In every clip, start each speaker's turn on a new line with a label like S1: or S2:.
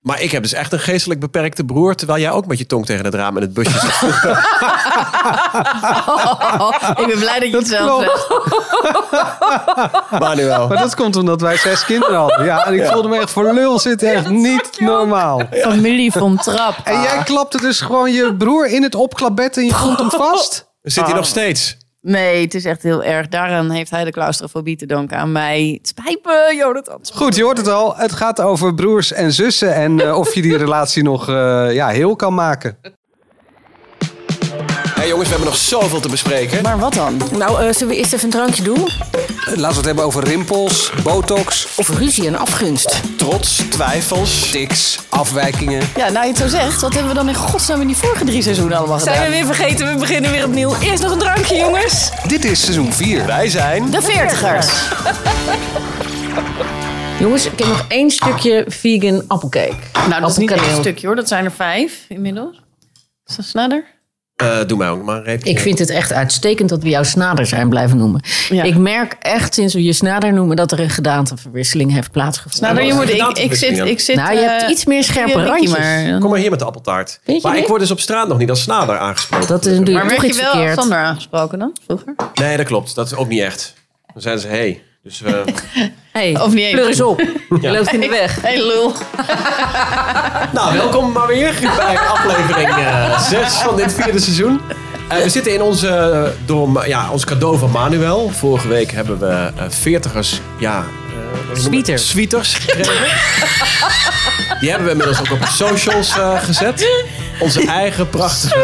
S1: Maar ik heb dus echt een geestelijk beperkte broer, terwijl jij ook met je tong tegen het raam in het busje zit.
S2: Oh, ik ben blij dat je het zelf
S3: klopt.
S2: zegt.
S1: Manuel.
S3: Maar dat komt omdat wij zes kinderen hadden. Ja, en ik voelde me echt voor lul zitten. Echt niet normaal.
S2: Familie van Trap.
S3: En jij klapte dus gewoon je broer in het opklapbed en je vond hem vast.
S1: Zit hij nog steeds?
S2: Nee, het is echt heel erg. Daaraan heeft hij de claustrofobie te danken aan mij. Het spijt me, Jonathan.
S3: Goed, je hoort het al. Het gaat over broers en zussen en eh, of je die relatie nog eh, ja, heel kan maken.
S1: Hé jongens, we hebben nog zoveel te bespreken.
S2: Maar wat dan?
S4: Nou, eh, zullen we eerst even een drankje doen?
S3: Laten we het hebben over rimpels, botox,
S4: Of ruzie en afgunst.
S1: Trots, twijfels.
S3: tics, afwijkingen.
S2: Ja, nou je het zo zegt, wat hebben we dan in godsnaam in die vorige drie seizoenen allemaal gedaan?
S4: Zijn we weer vergeten? We beginnen weer opnieuw. Eerst nog een drankje, jongens.
S3: Dit is seizoen 4.
S1: Wij zijn...
S2: De veertigers.
S4: Jongens, ik heb nog één stukje vegan appelcake.
S2: Nou, dat is niet
S4: Appelkaneel.
S2: één stukje hoor. Dat zijn er vijf inmiddels. Is dat sneller? Nou,
S1: Eh, doe mij ook maar een reepje.
S4: Ik vind het echt uitstekend dat we jou snader zijn blijven noemen.
S2: Ja.
S4: Ik merk echt sinds we je snader noemen dat er een gedaanteverwisseling heeft plaatsgevonden.
S2: Sneller, je moet...
S1: dat
S2: Ik,
S1: is
S2: ik zit...
S1: niet.
S2: Ik zit
S4: nou, je hebt
S2: Nou, eh,
S4: iets meer scherpe
S2: via Ricky,
S4: randjes.
S2: Maar,
S1: Kom maar hier met de appeltaart.
S4: Vind je
S1: Maar ik
S4: niet?
S1: word dus op straat nog niet als snader aangesproken.
S4: Dat is
S2: maar
S4: natuurlijk
S2: werd
S4: toch
S2: je
S4: iets
S2: wel als
S4: verkeerd.
S2: Sander aangesproken dan, vroeger?
S1: Nee, dat klopt. Dat is ook niet echt. Dan zijn ze, hey. Dus eh,
S4: Hey,
S2: Of niet eens.
S4: Pleur eens op. Je loopt in de weg.
S2: Hey lul.
S1: nou, welkom maar weer bij aflevering 6 van dit vierde seizoen. Eh, we zitten in onze, eh, door, Ma- ja, ons cadeau van Manuel. Vorige week hebben we eh, veertigers, ja... eh,
S4: Sweeter.
S1: Sweeters gekregen. Die hebben we inmiddels ook op de socials eh, gezet. Onze eigen prachtige...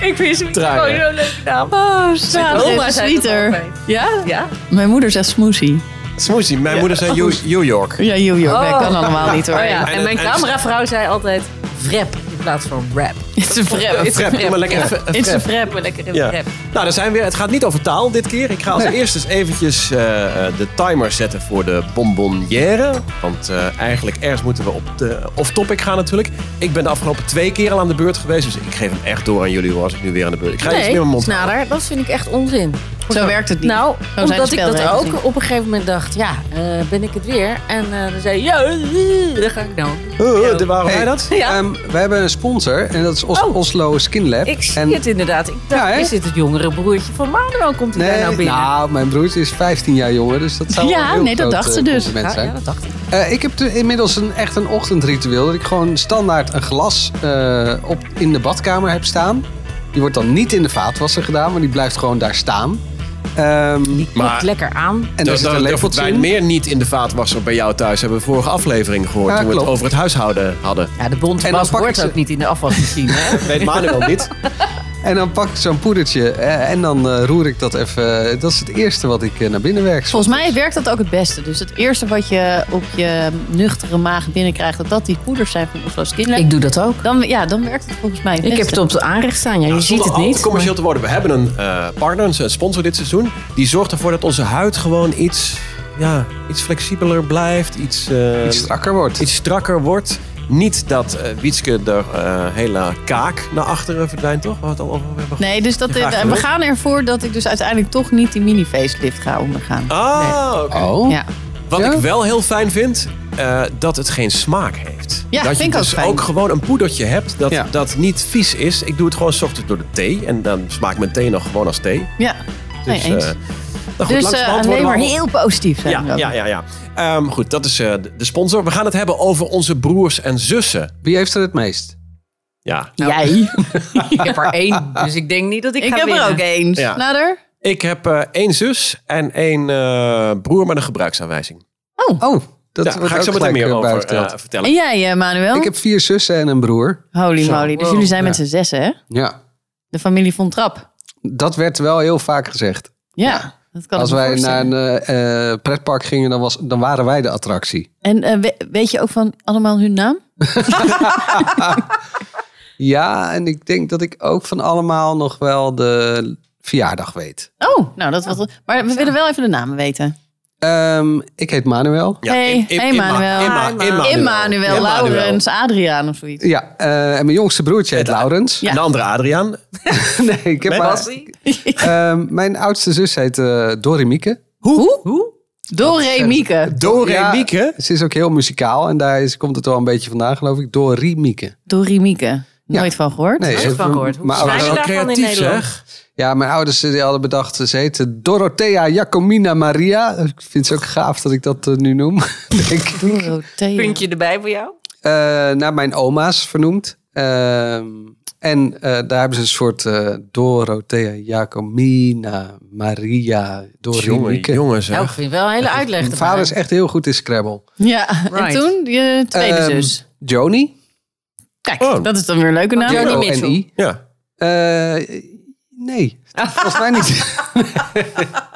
S1: eh,
S4: Ik vind het
S1: Truien. gewoon zo'n
S4: leuke naam.
S2: Oh,
S4: Oma zei dat
S2: Sweeter. Ja?
S4: Ja?
S2: Mijn moeder zegt smoothie.
S1: Smoothie, mijn moeder zei New New York.
S2: Ja, joh, joh.
S4: Oh.
S2: Nee, kan allemaal niet hoor.
S4: Oh ja. En
S1: En-
S4: mijn
S1: en-
S4: cameravrouw zei altijd vrep in plaats van rap.
S2: Het is een frep.
S4: It's
S1: Frep, doe maar lekker even- een
S2: It's a
S1: frep.
S2: frep.
S4: Lekker in
S1: Ja.
S4: rap.
S1: Nou, daar zijn we weer. Het gaat niet over taal dit keer. Ik ga als
S3: Nee.
S1: eerst eens eventjes eh, eh, de timer zetten voor de bonbonnière. Want eh, eigenlijk ergens moeten we op de off-topic gaan natuurlijk. Ik ben de afgelopen twee keer al aan de beurt geweest. Dus ik geef hem echt door aan jullie hoor, als ik nu weer aan de beurt... Ik ga iets meer in
S4: Nee,
S1: mijn mond houden.
S4: snader, dat vind ik echt onzin.
S2: Zo werkt het niet.
S4: Nou,
S2: de
S4: omdat ik dat
S2: spelregels
S4: ook
S2: niet.
S4: op een gegeven moment dacht, ja, eh, ben ik het weer? En eh, dan zei je, ja, eh, daar ga ik nou.
S1: Eh, eh, Waarom wij
S3: Hey,
S1: dat?
S4: Ja.
S3: ehm, we hebben een sponsor en dat is Os-
S4: Oh.
S3: Oslo Skin Lab.
S4: Ik zie
S3: en,
S4: het inderdaad. Ik
S3: Ja,
S4: dacht,
S3: hè?
S4: is dit het jongere broertje van Manuel? Komt hij daar
S3: Nee,
S4: nou binnen?
S3: nou, mijn broertje is 15 jaar jonger, dus dat zou
S2: Ja,
S3: wel een heel
S2: nee, dat
S3: groot,
S2: dacht
S3: eh,
S2: ze dus.
S3: compliment
S4: ja,
S3: zijn.
S4: ja, dat dacht ik.
S3: Eh, ik heb te- inmiddels een, echt een ochtendritueel. Dat ik gewoon standaard een glas eh, op, in de badkamer heb staan. Die wordt dan niet in de vaatwasser gedaan, maar die blijft gewoon daar staan. Ehm,
S4: Klopt lekker aan.
S3: en daar zit een lepeltje
S1: wij
S3: in.
S1: meer niet in de vaatwasser bij jou thuis hebben we vorige aflevering gehoord.
S3: Ja,
S1: toen we het
S3: klopt.
S1: over het huishouden hadden.
S4: Ja, de bond
S3: En dan
S4: was
S3: pak ik
S4: wordt
S3: ze-
S4: ook niet in de afwasmachine. hè?
S1: Weet Manuel niet.
S3: En dan pak ik zo'n poedertje eh, en dan eh, roer ik dat even. Dat is het eerste wat ik eh, naar binnen werk.
S2: Volgens mij werkt dat ook het beste. Dus het eerste wat je op je nuchtere maag binnenkrijgt, dat dat die poeders zijn van Oslo Skin Lab.
S4: ik doe dat ook.
S2: Dan, ja, dan werkt het volgens mij het
S4: Ik heb
S2: beste.
S4: het op de aanrecht staan. Ja, je
S1: Nou,
S4: ziet
S1: zonder
S3: oh,
S4: het
S1: al te
S4: niet.
S1: commercieel te worden. We hebben een eh, partner, een sponsor dit seizoen. Die zorgt ervoor dat onze huid gewoon iets, ja, iets flexibeler blijft. Iets, eh,
S3: iets strakker wordt.
S1: iets strakker wordt. Niet dat eh, Wietske de eh, hele kaak naar achteren verdwijnt, toch? Waar we het al over hebben gehad.
S2: Nee, dus dat,
S1: Je vraagt
S2: eh,
S1: het
S2: we
S1: ook.
S2: gaan ervoor dat ik dus uiteindelijk toch niet die mini-facelift ga ondergaan.
S1: Ah, oké.
S3: Oh.
S2: Ja.
S1: Wat
S3: Ja?
S1: ik wel heel fijn vind, eh, dat het geen smaak heeft.
S2: Ja,
S1: dat
S2: vind ik
S1: je
S2: ook
S1: dus
S2: fijn.
S1: ook gewoon een poedertje hebt dat,
S3: Ja.
S1: dat niet vies is. Ik doe het gewoon 's ochtends door de thee. En dan smaakt mijn thee nog gewoon als thee.
S2: ja.
S1: Dus,
S2: Nee, eens.
S1: eh, nou goed,
S2: dus eh,
S1: langzamerhand worden
S2: alleen
S1: we
S2: maar
S1: al-
S2: heel positief zijn. we
S1: Ja,
S2: ook.
S1: ja, ja. ja. Ehm, goed, dat is eh, de de sponsor. We gaan het hebben over onze broers en zussen.
S3: Wie heeft er het meest?
S1: Ja.
S3: Nou.
S4: Jij. ik heb er één, dus ik denk niet dat ik,
S2: Ik
S4: ga
S2: heb
S4: winnen.
S2: er ook eens.
S1: Ja.
S2: Nader?
S1: Ik heb eh, één zus en één eh, broer met een gebruiksaanwijzing.
S3: Oh, dat
S1: Daar ga
S3: wordt
S1: ik
S3: ook
S1: zo meteen
S3: gelijk,
S1: meer
S3: eh, bij
S1: over
S3: verteld.
S1: eh, vertellen.
S2: En jij, eh, Manuel?
S3: ik heb vier zussen en een broer.
S2: Holy
S3: Zo,
S2: moly. Dus
S4: wow.
S2: jullie zijn
S3: Ja.
S2: met z'n zessen, hè?
S3: Ja.
S2: De familie Von Trap.
S3: Dat werd wel heel vaak gezegd.
S2: Ja, dat kan
S3: Als
S2: ik me
S3: wij naar
S2: voorstellen.
S3: een eh, eh, pretpark gingen, dan, was, dan waren wij de attractie.
S2: En eh, we- weet je ook van allemaal hun naam?
S3: Ja, en ik denk dat ik ook van allemaal nog wel de verjaardag weet.
S2: Oh, nou dat was. Maar we willen wel even de namen weten.
S3: Ehm, ik heet Manuel.
S2: Hey,
S1: Im- Im-
S2: hey,
S1: Imma-
S2: Manuel.
S1: Imma-
S4: Hi,
S1: Immanuel.
S2: Emmanuel,
S1: Ja,
S2: Laurens, Adriaan of zoiets.
S3: Ja, eh, en mijn jongste broertje heet
S1: Het-
S3: Laurens.
S2: Ja.
S1: Een andere Adriaan.
S3: Nee, ik heb maar,
S4: Bassie?
S3: Ehm, mijn oudste zus heet eh Dorimieke.
S4: Hoe? Hoe?
S2: Doré Mieke.
S1: Dore
S3: Ja,
S1: Mieke.
S3: Ze is ook heel muzikaal en daar is, komt het wel een beetje vandaan, geloof ik, door Remieke.
S2: Doré Mieke. Nooit van gehoord.
S3: Nee,
S4: Nooit
S3: ze-
S4: van gehoord. Hoe
S3: mijn
S4: schrijf
S1: Dat
S4: je
S1: is
S3: ouders-
S1: wel
S4: daarvan in
S1: creatief
S4: Nederland?
S1: zeg.
S3: ja, mijn ouders eh, die hadden bedacht, ze heette Dorothea Jacomina Maria. Ik vind ze ook gaaf dat ik dat eh, nu noem. Denk. ik.
S2: Dorothea.
S4: Puntje erbij voor jou.
S3: Eh, naar mijn oma's vernoemd. Ehm, en eh, daar hebben ze een soort eh, Dorothea Jacomina Maria
S1: Jongen,
S3: Dorimieke.
S1: jongen
S4: Nou, ik
S1: zeg.
S4: vind wel een hele uitleg
S3: Mijn
S4: ervan.
S3: vader is echt heel goed in Scrabble.
S2: Ja, en
S4: Right.
S2: toen je tweede
S3: Ehm,
S2: zus.
S3: Joni.
S2: Kijk,
S1: oh.
S2: dat is dan weer een leuke naam.
S4: Johnny
S3: J O N I.
S4: Mitchell.
S1: Ja.
S3: Eh, nee, volgens mij niet.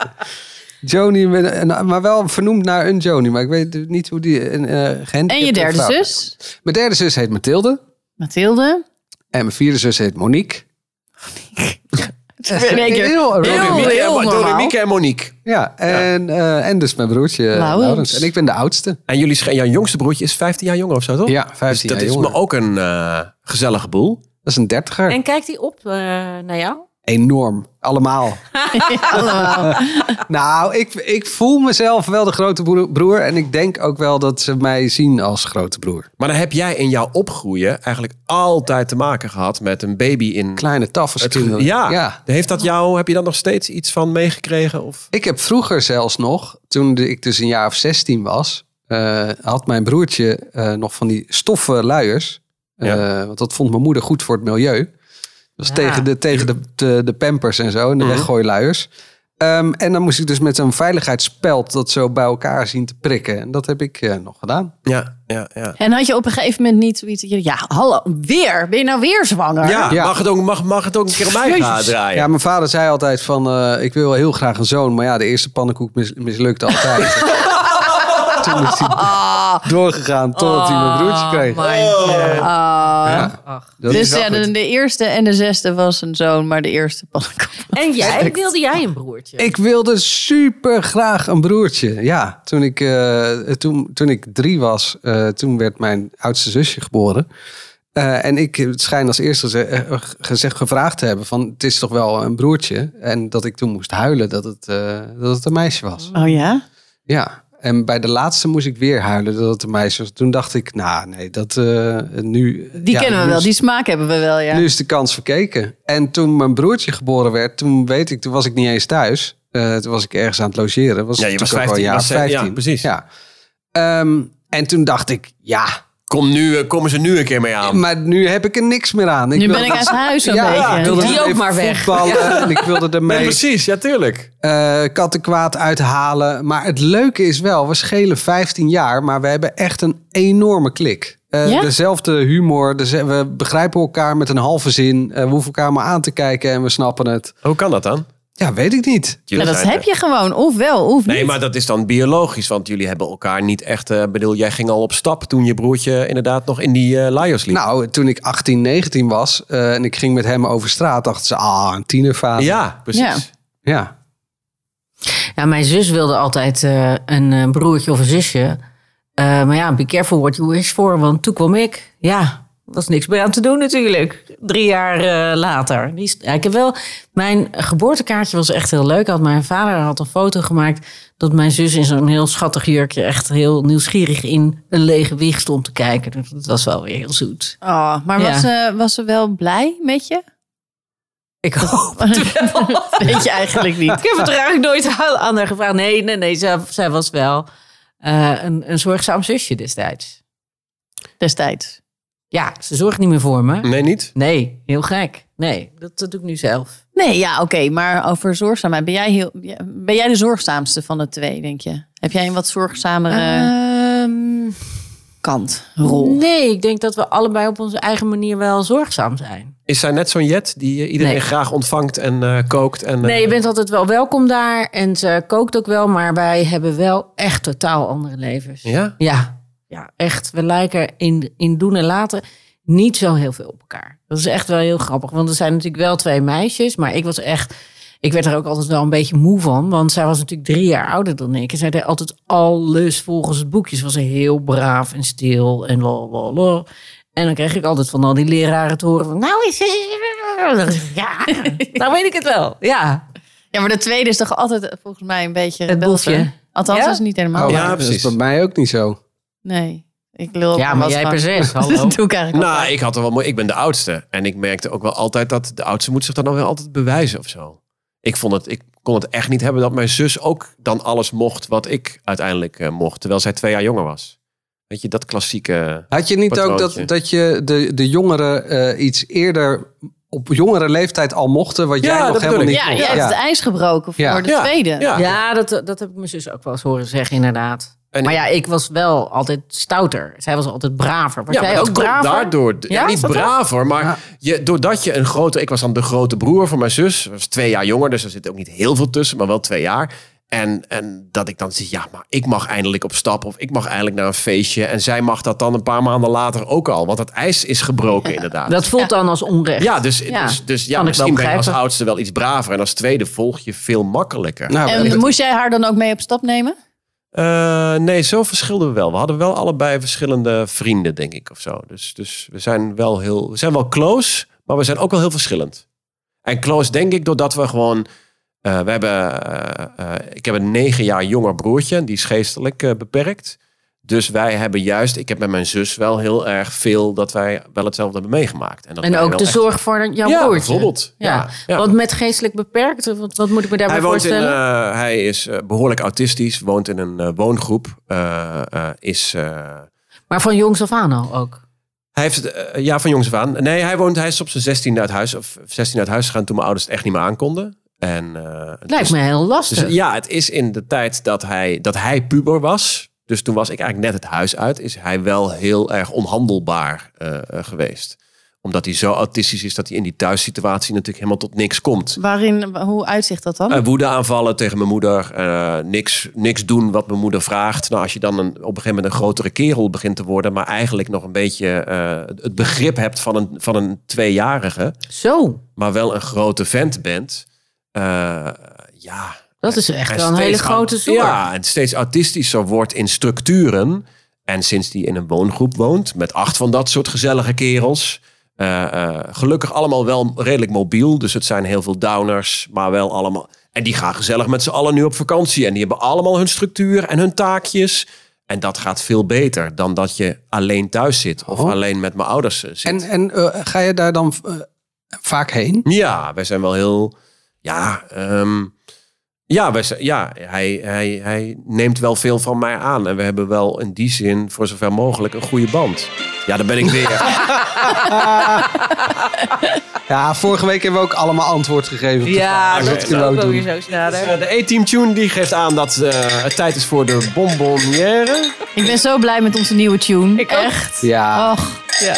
S3: Joni, met een- nou, maar wel vernoemd naar een Joni. Maar ik weet niet hoe die... Een, eh gehandicapte
S2: En je derde
S3: vrouw.
S2: zus,
S3: Mijn derde zus heet Mathilde.
S2: Mathilde.
S3: En mijn vierde zus heet Monique.
S2: In één keer.
S3: Heel,
S2: Heel
S1: Dore Mieke en-
S2: normaal.
S1: Dore Mieke en Monique.
S3: Ja, en, eh, en dus mijn broertje eh,
S2: Laurens.
S3: Laurens. En ik ben de oudste.
S1: En jullie, sch- jouw jongste broertje is 15 jaar jonger of zo, toch?
S3: Ja, 15
S1: Dus dat
S3: jaar
S1: is
S3: jonger.
S1: me ook een eh, gezellige boel.
S3: Dat is een dertiger.
S4: En kijkt hij op eh, naar jou?
S3: Enorm. Allemaal.
S2: Allemaal.
S3: nou, ik, ik voel mezelf wel de grote broer, broer. En ik denk ook wel dat ze mij zien als grote broer.
S1: Maar dan heb jij in jouw opgroeien eigenlijk altijd te maken gehad met een baby in...
S3: Kleine tafels
S1: Het-
S3: kinderen.
S1: ja. Heeft dat jou, heb je dan nog steeds iets van meegekregen? Of?
S3: Ik heb vroeger zelfs nog, toen ik dus een jaar of 16 was, eh, had mijn broertje eh, nog van die stoffen luiers. Eh,
S1: Ja.
S3: Want dat vond mijn moeder goed voor het milieu. Dat was
S4: Ja.
S3: tegen, de, tegen de, de, de pampers en zo, en de
S1: Mhm.
S3: weggooiluiers. Ehm, en dan moest ik dus met zo'n veiligheidsspeld dat zo bij elkaar zien te prikken. En dat heb ik eh, nog gedaan.
S1: Ja, ja, ja.
S2: En had je op een gegeven moment niet zoiets... dat je- Ja, hallo, weer? Ben je nou weer zwanger?
S1: Ja,
S3: Ja.
S1: Mag, het ook, mag, mag het ook een keer om mij gaan draaien?
S3: Ja, mijn vader zei altijd van, eh, ik wil heel graag een zoon. Maar ja, de eerste pannenkoek mis- mislukte altijd. Toen is hij
S2: Ah.
S3: doorgegaan totdat hij Oh, mijn broertje
S4: Oh,
S3: kreeg.
S4: Mijn,
S2: Ah.
S3: Ja.
S4: Ach.
S3: Dat
S2: dus
S3: is wel
S2: ja,
S3: goed.
S2: de, de eerste en de zesde was een zoon, maar de eerste pannenkoek.
S4: En jij, wilde jij een broertje?
S3: Ik wilde super graag een broertje. Ja, toen ik, eh, toen, toen ik drie was, eh, toen werd mijn oudste zusje geboren. Eh, en ik schijn als eerste ze- eh, gezegd gevraagd te hebben van het is toch wel een broertje. En dat ik toen moest huilen dat het, eh, dat het een meisje was.
S2: Oh ja?
S3: Ja, en bij de laatste moest ik weer huilen dat het een meisje was. Toen dacht ik, nou nee, dat eh, nu...
S2: Die
S3: ja,
S2: kennen we
S3: nu
S2: wel,
S3: is-
S2: die smaak hebben we wel, ja.
S3: nu is de kans verkeken. En toen mijn broertje geboren werd, toen weet ik, toen was ik niet eens thuis. Eh, toen was ik ergens aan het logeren. Was
S1: Ja, je was
S3: natuurlijk ook
S1: 15,
S3: wel een
S1: was, eh,
S3: jaar of
S1: ja,
S3: 15.
S1: precies.
S3: Ja. Ehm, en toen dacht ik, ja,
S1: Kom nu, eh, komen ze nu een keer mee aan.
S3: maar nu heb ik er niks meer aan. Ik
S2: Nu
S3: wil
S2: ben ik
S3: dat-
S2: uit huis een
S3: Ja,
S2: beetje.
S3: ik wilde
S4: Die
S3: ermee
S4: ook maar weg.
S3: voetballen En ik wilde
S1: Nee,
S3: ermee
S1: precies. Ja, tuurlijk.
S3: eh kattenkwaad uithalen. Maar het leuke is wel, we schelen 15 jaar, maar we hebben echt een enorme klik. Eh,
S2: Ja?
S3: Dezelfde humor, deze- we begrijpen elkaar met een halve zin. Eh, we hoeven elkaar maar aan te kijken en we snappen het.
S1: Hoe kan dat dan?
S3: Ja, weet ik niet.
S2: Maar
S1: Jullie
S2: dat
S1: zijn-
S2: heb je gewoon, of wel, of niet.
S1: Nee, maar dat is dan biologisch, want jullie hebben elkaar niet echt... eh, bedoel, jij ging al op stap toen je broertje inderdaad nog in die eh lions liep.
S3: Nou, toen ik 18, 19 was eh, en ik ging met hem over straat, dachten ze, ah, een tienervader.
S1: ja, precies.
S2: Ja.
S3: ja.
S4: Ja, mijn zus wilde altijd eh, een eh, broertje of een zusje. Eh, maar ja, be careful what you wish for, want toen kwam ik. Ja, was niks meer aan te doen natuurlijk. Drie jaar eh, later. Die, is- ja, ik heb wel, mijn geboortekaartje was echt heel leuk. Had mijn vader had een foto gemaakt dat mijn zus in zo'n heel schattig jurkje... echt heel nieuwsgierig in een lege wieg stond te kijken. Dus dat was wel weer heel zoet.
S2: Oh, maar was, ze, was ze wel blij met je?
S4: Ik hoop het wel.
S2: Weet je eigenlijk niet.
S4: Ik heb het er eigenlijk nooit aan- aan haar gevraagd. Nee, nee, nee. Zij, zij was wel eh, een, een zorgzaam zusje destijds.
S2: Destijds.
S4: Ja, ze zorgt niet meer voor me.
S1: Nee, niet?
S4: Nee, heel gek. Nee, dat, dat doe ik nu zelf.
S2: Nee, ja, oké. maar over zorgzaamheid. Ben jij, heel, ja, ben jij de zorgzaamste van de twee, denk je? Heb jij een wat zorgzamere
S4: Ehm,
S2: kant, rol?
S4: Eh, nee, ik denk dat we allebei op onze eigen manier wel zorgzaam zijn.
S1: Is zij net zo'n jet die eh, iedereen
S4: Nee.
S1: graag ontvangt en eh, kookt? En, eh,
S4: Nee, je bent altijd wel welkom daar en ze kookt ook wel, maar wij hebben wel echt totaal andere levens.
S1: Ja?
S4: Ja, ja echt. We lijken in, in doen en laten niet zo heel veel op elkaar. Dat is echt wel heel grappig. Want er zijn natuurlijk wel twee meisjes. Maar ik was echt... Ik werd er ook altijd wel een beetje moe van. Want zij was natuurlijk drie jaar ouder dan ik. En zij deed altijd alles volgens het boekje. Ze was heel braaf en stil en lol, lol, lol. En dan kreeg ik altijd van al die leraren te horen van... Nou is ze... Ja, nou weet ik het wel. Ja,
S2: Ja, maar de tweede is toch altijd eh, volgens mij een beetje...
S4: het
S2: rebelse?
S4: boefje.
S2: Althans,
S4: Ja?
S2: dat is niet helemaal
S3: Oh,
S1: Ja,
S2: waar.
S3: dat is
S1: precies.
S3: bij mij ook niet zo.
S2: Nee, ik lul
S4: Ja, maar jij per se. Hallo.
S2: Dat doe ik eigenlijk
S1: Nou, ik had er wel moe- Ik ben de oudste. En ik merkte ook wel altijd dat de oudste moet zich dan ook wel altijd bewijzen of zo. Ik, vond het, ik kon het echt niet hebben dat mijn zus ook dan alles mocht wat ik uiteindelijk eh, mocht. Terwijl zij twee jaar jonger was. Weet je, dat klassieke...
S3: Had je niet ook
S1: Patroontje.
S3: dat, dat je de, de jongeren eh, iets eerder op jongere leeftijd al mochten, wat
S1: Ja,
S3: jij nog
S1: dat
S3: helemaal
S1: bedoel
S3: niet
S1: ik.
S2: Ja,
S3: mocht?
S2: jij hebt het ijs gebroken voor
S3: Ja.
S2: de
S1: Ja.
S2: tweede.
S1: Ja.
S4: Ja, dat, dat heb ik mijn zus ook wel eens horen zeggen, inderdaad.
S1: En-
S4: maar ja, ik was wel altijd stouter. Zij was altijd braver. Was
S1: Ja, maar
S4: jij
S1: dat
S4: ook
S1: komt
S4: braver?
S1: daardoor. Ja,
S4: Ja, is
S1: niet
S4: dat
S1: braver, maar
S3: Ja.
S1: je, doordat je een grote... Ik was dan de grote broer van mijn zus. Ze was twee jaar jonger, dus er zit ook niet heel veel tussen. Maar wel twee jaar. En, en dat ik dan zie, ja, maar ik mag eindelijk op stap. Of ik mag eindelijk naar een feestje. En zij mag dat dan een paar maanden later ook al. Want het ijs is gebroken inderdaad.
S4: Dat voelt dan als onrecht.
S1: Ja, dus,
S4: Ja.
S1: dus, dus ja,
S4: Kan ik
S1: misschien
S4: wel
S1: ben je als
S4: begrijpen.
S1: oudste wel iets braver. En als tweede volg je veel makkelijker.
S3: Nou,
S2: En
S3: dat-
S2: moest jij haar dan ook mee op stap nemen?
S1: Eh, nee, zo verschilden we wel. We hadden wel allebei verschillende vrienden, denk ik, of zo. Dus, dus we zijn wel heel, we zijn wel close, maar we zijn ook wel heel verschillend. En close, denk ik, doordat we gewoon, eh, we hebben, eh, eh, ik heb een negen jaar jonger broertje, die is geestelijk eh, beperkt. Dus wij hebben juist, ik heb met mijn zus wel heel erg veel dat wij wel hetzelfde hebben meegemaakt. dat
S4: En
S1: wij
S4: ook
S1: wel
S4: de
S1: echt-
S4: zorg voor jouw
S1: ja,
S4: broertje.
S1: bijvoorbeeld.
S4: Ja. Want met geestelijk beperkt, wat, wat moet ik me daarbij
S1: Hij, woont in,
S4: voorstellen?
S1: eh, hij is eh, behoorlijk autistisch, woont in een eh, woongroep, eh, eh, is... eh,
S4: Maar van jongs af aan al ook.
S1: Hij heeft, eh, ja, van jongs af aan. Nee, hij woont, hij is op zijn 16 uit huis, of 16 uit huis gegaan toen mijn ouders het echt niet meer aankonden. En, eh, het
S4: Lijkt
S1: is-
S4: me eh. heel lastig.
S1: dus, ja, het is in de tijd dat hij, dat hij puber was. Dus toen was ik eigenlijk net het huis uit. Is hij wel heel erg onhandelbaar eh, eh, geweest. Omdat hij zo autistisch is dat hij in die thuissituatie natuurlijk helemaal tot niks komt.
S2: Waarin, hoe uitzicht dat dan?
S1: Eh, woede aanvallen tegen mijn moeder. eh, niks, niks doen wat mijn moeder vraagt. Nou, als je dan een, op een gegeven moment een grotere kerel begint te worden. maar eigenlijk nog een beetje eh, het begrip hebt van een, van een tweejarige.
S4: Zo,
S1: maar wel een grote vent bent. eh, ja.
S4: dat is echt
S1: en
S4: wel een
S1: steeds
S4: hele
S1: au-
S4: grote zorg.
S1: Ja, en steeds autistischer wordt in structuren. En sinds die in een woongroep woont. met acht van dat soort gezellige kerels. eh, eh, gelukkig allemaal wel redelijk mobiel. Dus het zijn heel veel downers, maar wel allemaal. En die gaan gezellig met z'n allen nu op vakantie. En die hebben allemaal hun structuur en hun taakjes. En dat gaat veel beter dan dat je alleen thuis zit. Of
S3: Oh.
S1: alleen met mijn ouders eh, zit.
S3: en en eh, ga je daar dan eh, vaak heen?
S1: Ja, wij zijn wel heel. Ja, ehm, ja, wij zijn, ja hij, hij, hij neemt wel veel van mij aan. En we hebben wel in die zin voor zover mogelijk een goede band. Ja, daar ben ik weer.
S3: Ja, vorige week hebben we ook allemaal antwoord gegeven. op de vraag.
S1: dat
S3: kunnen we ook doen.
S4: zo snader.
S1: de E-team Tune die geeft aan dat eh, het tijd is voor de bonbonnière.
S2: Ik ben zo blij met onze nieuwe tune.
S5: Ik ook.
S2: Echt.
S3: Ja.
S2: Och,
S5: Ja,